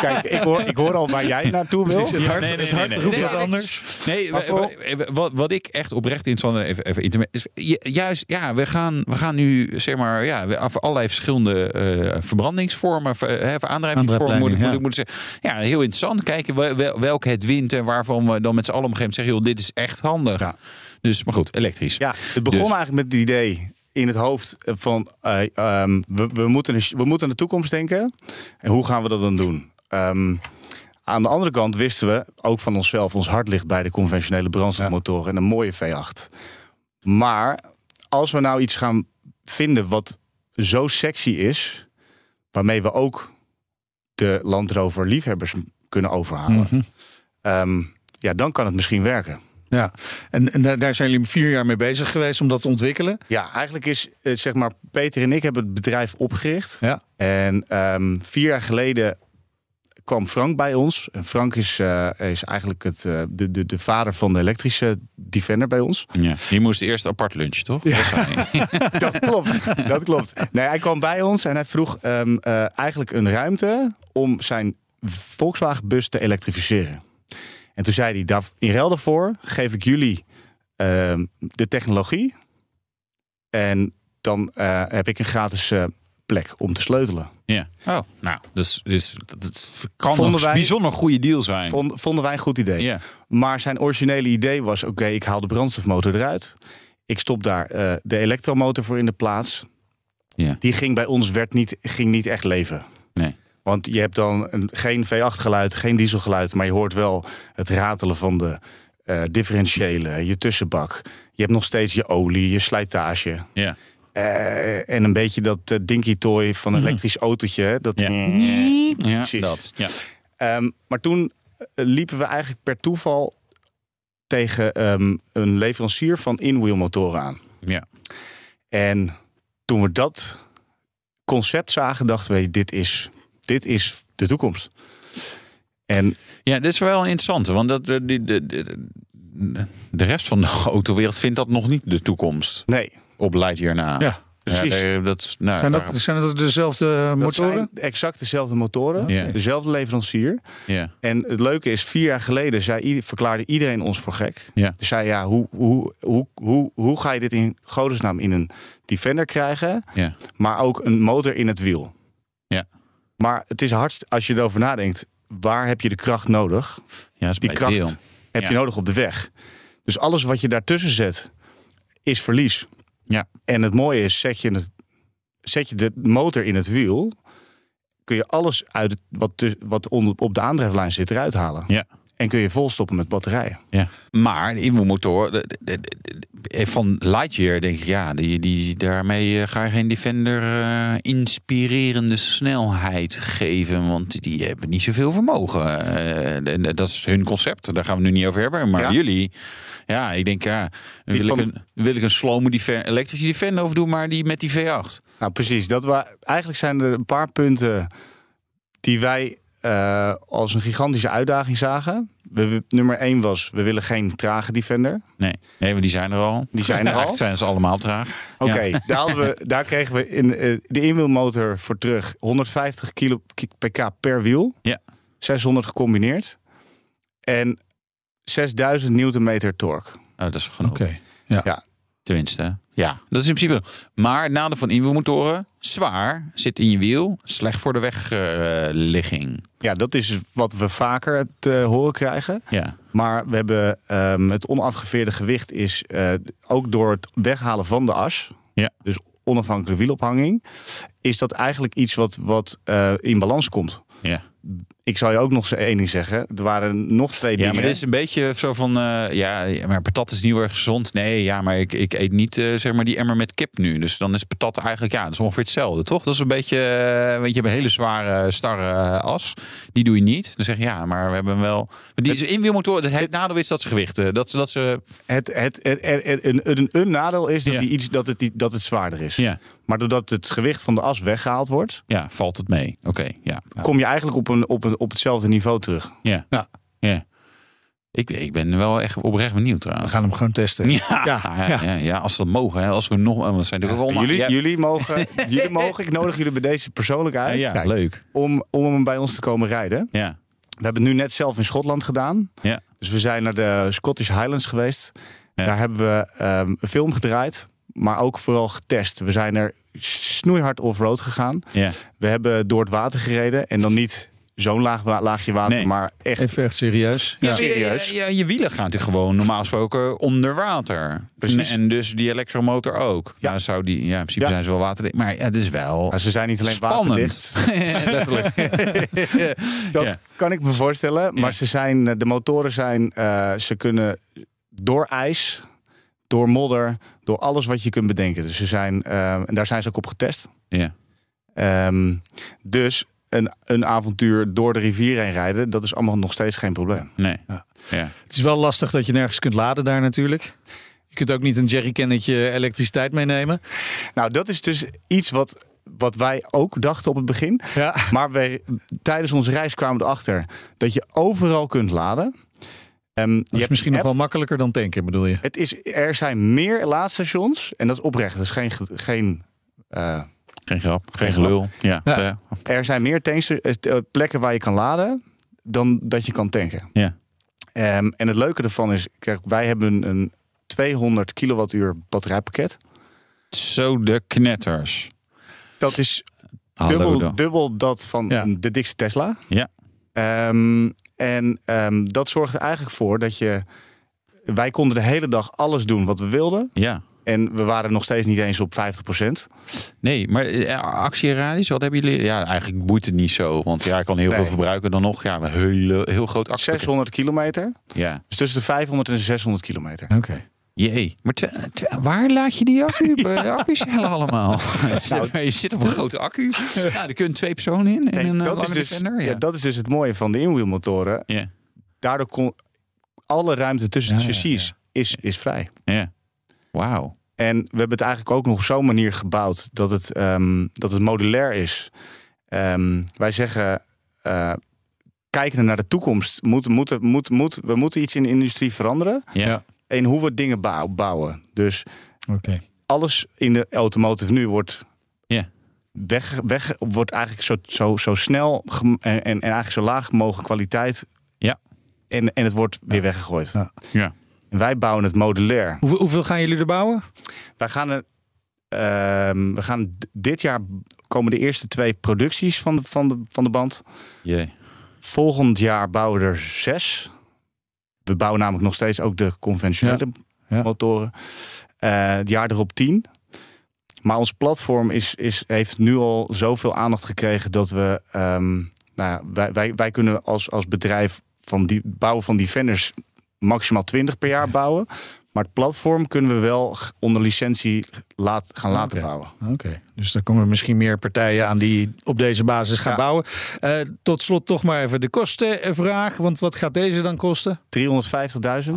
Kijk, ik hoor, ik hoor al waar jij naartoe wil. Het hart- nee, nee, het hart nee, nee. roept Nee, wat nee. anders. Nee, Maar wa- voor- wa- wa- wat, wat ik echt oprecht interessant even, even interme- is ju- juist, ja, we gaan, we gaan nu zeg maar, ja, we- af- allerlei verschillende eh, verbrandingsvormen, ver- hè, of aandrijvingsvormen, moet ik, moet ik, Aandrijflijnen, moet ik zeggen. Ja, heel interessant. Kijken wel- wel- welke het wint en waarvan we dan met z'n allen op een gegeven moment zeggen, joh, dit is echt handig. Dus, maar goed, elektrisch. Ja, het begon Dus- eigenlijk met het idee in het hoofd van eh, ehm, we, we, moeten, een- we moeten aan de toekomst denken. En hoe gaan we dat dan doen? Ehm, aan de andere kant wisten we ook van onszelf, ons hart ligt bij de conventionele brandstofmotoren en een mooie V8. Maar als we nou iets gaan vinden wat zo sexy is, waarmee we ook de Land Rover liefhebbers kunnen overhalen, Mhm. ehm, ja, dan kan het misschien werken. Ja. En, en daar, daar zijn jullie vier jaar mee bezig geweest om dat te ontwikkelen. Ja, eigenlijk is eh, zeg maar Peter en ik hebben het bedrijf opgericht. Ja. En ehm, vier jaar geleden kwam Frank bij ons. En Frank is, eh, is eigenlijk het, eh, de, de, de vader van de elektrische Defender bij ons. Ja. Die moest eerst apart lunchen, toch? Ja. dat klopt, dat klopt. Nee, hij kwam bij ons en hij vroeg ehm, eh, eigenlijk een ruimte om zijn Volkswagenbus te elektrificeren. En toen zei hij, daar, in ruil daarvoor geef ik jullie ehm, de technologie. En dan eh, heb ik een gratis eh, plek om te sleutelen. Ja. Oh, nou, dus, dus dat is- kan Vonden een wij- bijzonder goede deal zijn. Vond- vonden wij een goed idee. Ja. Maar zijn originele idee was: oké, ik haal de brandstofmotor eruit. Ik stop daar eh, de elektromotor voor in de plaats. Ja. Die ging bij ons werd niet, ging niet echt leven. Nee. Want je hebt dan een, geen V8-geluid, geen dieselgeluid, maar je hoort wel het ratelen van de eh differentiële, je tussenbak. Je hebt nog steeds je olie, je slijtage. Ja. Eh, en een beetje dat eh, dinky toy van Mhm. een elektrisch autootje. hè, Dat Ja, Precies. dat. Ja. Ehm, maar toen eh, liepen we eigenlijk per toeval tegen ehm, een leverancier van inwheelmotoren aan. Ja. En toen we dat concept zagen, dachten we, dit is, dit is de toekomst. En Ja, dit is wel interessant. Want dat, de, de, de, de- de rest van de autowereld vindt dat nog niet de toekomst. Nee. Op Light hierna. Ja, precies. dat, is- nou, zijn, daar- dat, dus zijn dat dezelfde dat motoren? zijn exact dezelfde motoren, Ja. dezelfde leverancier. Ja. En het leuke is, vier jaar geleden zei, ieder- verklaarde iedereen ons voor gek. Ja. Dus zei, ja, hoe, hoe, hoe, hoe, hoe ga je dit in godesnaam in een Defender krijgen? Ja. maar ook een motor in het wiel. Ja. Maar het is hardst, als je erover nadenkt, waar heb je de kracht nodig? Ja, is Die bij kracht deel. heb Ja. je nodig op de weg. Dus alles wat je daartussen zet, is verlies. Ja. En het mooie is, zet je, het, zet je de motor in het wiel, kun je alles uit het, wat, tu- wat onder- op de aandrijflijn zit eruit halen. Ja. En kun je volstoppen met batterijen. Ja. Maar de invoermotor de- de- de- de- van Lightyear denk ik, ja, die, die, daarmee eh, ga je geen Defender eh, inspirerende snelheid geven. Want die hebben niet zoveel vermogen. Eh, en dat is hun concept, daar gaan we het nu niet over hebben. Maar Ja. jullie, ja, ik denk, ja, wil, Die ik van- een, wil ik een slow elektrische Defender of doen, maar die met die V8. Nou, precies. Dat wa- eigenlijk zijn er een paar punten die wij eh, als een gigantische uitdaging zagen. We- we- nummer één was, we willen geen trage Defender. Nee, nee, maar die zijn er al. Die zijn er al? Eigenlijk zijn ze allemaal traag. Oké, Ja. daar, hadden we- daar kregen we in, eh, de inwielmotor voor terug 150 kilo k- pk per wiel. Ja. 600 gecombineerd. En 6000 newtonmeter torque. Oh, dat is genoeg. Ja. Ja. Tenminste, ja. Dat is in principe. Maar het nadeel van inwielmotoren, zwaar, zit in je wiel, slecht voor de wegligging. ja, dat is wat we vaker te horen krijgen. ja. Maar we hebben ehm, het onafgeveerde gewicht is eh, ook door het weghalen van de as. Ja. Dus onafhankelijke wielophanging. Is dat eigenlijk iets wat, wat eh, in balans komt. Ja. Ik zal je ook nog eens één ding zeggen. Er waren nog twee ja, dingen. maar dit is een beetje zo van, eh, ja, ja, maar patat is niet heel erg gezond. Nee, ja, maar ik, ik eet niet, eh, zeg maar, die emmer met kip nu. Dus dan is patat eigenlijk, ja, dat is ongeveer hetzelfde, toch? Dat is een beetje, eh, want je hebt een hele zware, starre eh, as. Die doe je niet. Dan zeg je, ja, maar we hebben wel... Maar Die is inwielmotoren, het, het nadeel is dat ze gewichten, dat ze... Dat ze Het, het, het, er- er- een, een, een nadeel is dat, die iets, dat, het, dat het zwaarder is. Ja. Maar doordat het gewicht van de as weggehaald wordt, ja, valt het mee. Oké, ja. kom je eigenlijk op, een, op, een, op hetzelfde niveau terug. Ja. Ja. Ik, ik ben wel echt oprecht benieuwd We trouwens. gaan hem gewoon testen. Ja, ja, ja. als we dat mogen. Hè. Als we nog... Want het zijn natuurlijk wel jullie, ja, jullie, mogen, jullie mogen, ik nodig jullie bij deze persoonlijk uit ja, leuk. om, om hem bij ons te komen rijden. Ja. We hebben het nu net zelf in Schotland gedaan. Ja. Dus we zijn naar de Scottish Highlands geweest. Daar hebben we ehm, een film gedraaid, maar ook vooral getest. We zijn er snoeihard off-road gegaan. Ja. We hebben door het water gereden en dan niet zo'n laag, wa- laagje water, Nee. maar echt Even echt serieus. Ja, Ja. serieus. Ja, je wielen gaan natuurlijk gewoon normaal gesproken onder water. Precies. En dus die elektromotor ook. Ja, zou die, ja in principe Ja. zijn ze wel waterdicht. Maar ja, het is wel Maar ze zijn niet alleen spannend. waterdicht. Letterlijk. Dat Ja. kan ik me voorstellen. Maar ze zijn, eh, de motoren zijn, eh, ze kunnen door ijs, door modder, door alles wat je kunt bedenken. Dus ze zijn, eh, en daar zijn ze ook op getest. ja. Ehm, dus een, een avontuur door de rivier heen rijden, dat is allemaal nog steeds geen probleem. Nee. Ja. Ja. Het is wel lastig dat je nergens kunt laden daar natuurlijk. Je kunt ook niet een jerrycannetje elektriciteit meenemen. Nou, dat is dus iets wat wat wij ook dachten op het begin. Maar wij, tijdens onze reis kwamen we erachter dat je overal kunt laden. Ehm, je Dat is hebt misschien een nog wel app. makkelijker dan tanken, bedoel je? Het is, er zijn meer laadstations en dat is oprecht. Dat is geen, ge- geen eh, Geen grap, geen, Geen gelul. Ja. Ja. Ja. er zijn meer tanksta- eh, plekken waar je kan laden dan dat je kan tanken. Ehm, en het leuke ervan is, kijk, wij hebben een 200 kilowattuur batterijpakket. Zo de knetters. Dat is Hallo dubbel, dan. dubbel dat van de dikste Tesla. Ja. Ehm, en ehm, dat zorgt er eigenlijk voor dat je... Wij konden de hele dag alles doen wat we wilden. Ja. En we waren nog steeds niet eens op 50%. Nee, maar eh, actieradius, wat hebben jullie? Ja, eigenlijk boeit het niet zo. Want ja, ik kan heel Nee. veel verbruiken dan nog. Ja, een hele, heel groot actie. 600 kilometer. Ja. Dus tussen de 500 en de 600 kilometer. Oké. Jee, maar twe- twe- waar laat je die accu? eh, accu's hellen allemaal? je zit op een grote accu. Ja, er kunnen twee personen in. in Nou, Nee, een, eh, dat, lange is dus, Defender, ja, ja. dat is dus het mooie van de inwielmotoren. Ja. Daardoor kon alle ruimte tussen de chassis Is, is vrij. Ja. Wauw. En we hebben het eigenlijk ook nog op zo'n manier gebouwd dat het, ehm, dat het modulair is. Ehm, wij zeggen, eh kijkende naar de toekomst, moet, moet, moet, moet, we moeten iets in de industrie veranderen. Ja. En hoe we dingen bou- bouwen. Dus Oké. alles in de automotive nu wordt Ja. weg, weg wordt eigenlijk zo, zo, zo snel gem- en, en eigenlijk zo laag mogelijk kwaliteit. Ja. En, en het wordt weer weggegooid. Ja. En wij bouwen het modulair. Hoe, hoeveel gaan jullie er bouwen? Wij gaan, er, ehm, we gaan d- dit jaar komen de eerste twee producties van de, van de, van de band. Jee. Volgend jaar bouwen we er zes. We bouwen namelijk nog steeds ook de conventionele motoren. Eh, het jaar erop tien. Maar ons platform is, is, heeft nu al zoveel aandacht gekregen dat we. ehm, nou ja, wij, wij, wij kunnen als, als bedrijf van die bouwen van Defenders maximaal 20 per jaar bouwen. Maar het platform kunnen we wel g- onder licentie laat, gaan laten bouwen. Oké, dus dan komen misschien meer partijen aan die op deze basis gaan bouwen. Eh, tot slot toch maar even de kostenvraag. Want wat gaat deze dan kosten? 350.000.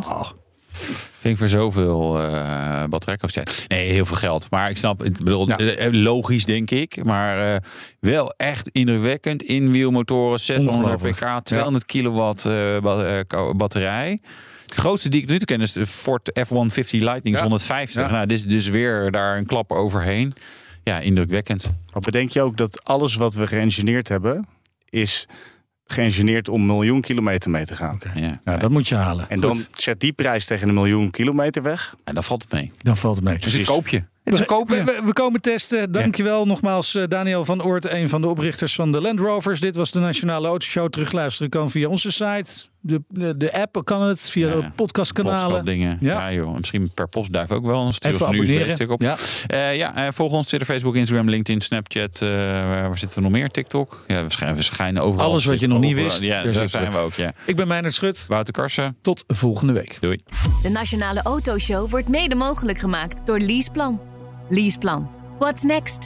Vind ik voor zoveel eh batterijcapaciteit. Nee, heel veel geld. Maar ik snap, het bedoel, eh, logisch denk ik. Maar eh, wel echt indrukwekkend. Inwielmotoren, 600 Ongelooflijk. pk, 200 kilowatt eh, ba- eh, ka- batterij. De grootste die ik tot nu toe ken is de Ford F-150 Lightning 150. Nou, dit is dus weer daar een klap overheen. Ja, indrukwekkend. Maar bedenk je ook dat alles wat we geëngineerd hebben, is geëngineerd om miljoen kilometer mee te gaan. Ja. Nou, dat moet je halen. En dan Goed. zet die prijs tegen een miljoen kilometer weg. En dan valt het mee. Dan valt het mee. Oh, Dus ik koop je. Het is een koopje. We, we- we komen testen. Dankjewel nogmaals eh, Daniel van Oort, een van de oprichters van de Land Rovers. Dit was de Nationale Autoshow. Terugluisteren kan via onze site. De, de, de app kan het, via de podcastkanalen. Postpapdingen. Ja. joh. Misschien per postduif ook wel. Dan stuur Even ons een abonneren. USB-stick op. Ja. Ja, ja eh, volg ons Twitter, Facebook, Instagram, LinkedIn, Snapchat. eh, waar waar zitten we nog meer? TikTok. Ja, we schijnen, we schijnen overal. Alles wat je nog niet Overal. wist, Ja, daar daar zitten zijn we we. ook. Ja. Ik ben Meijnerd Schut. Wouter Karsen. Tot volgende week. Doei. De Nationale Autoshow wordt mede mogelijk gemaakt door Leaseplan. Leaseplan. What's next?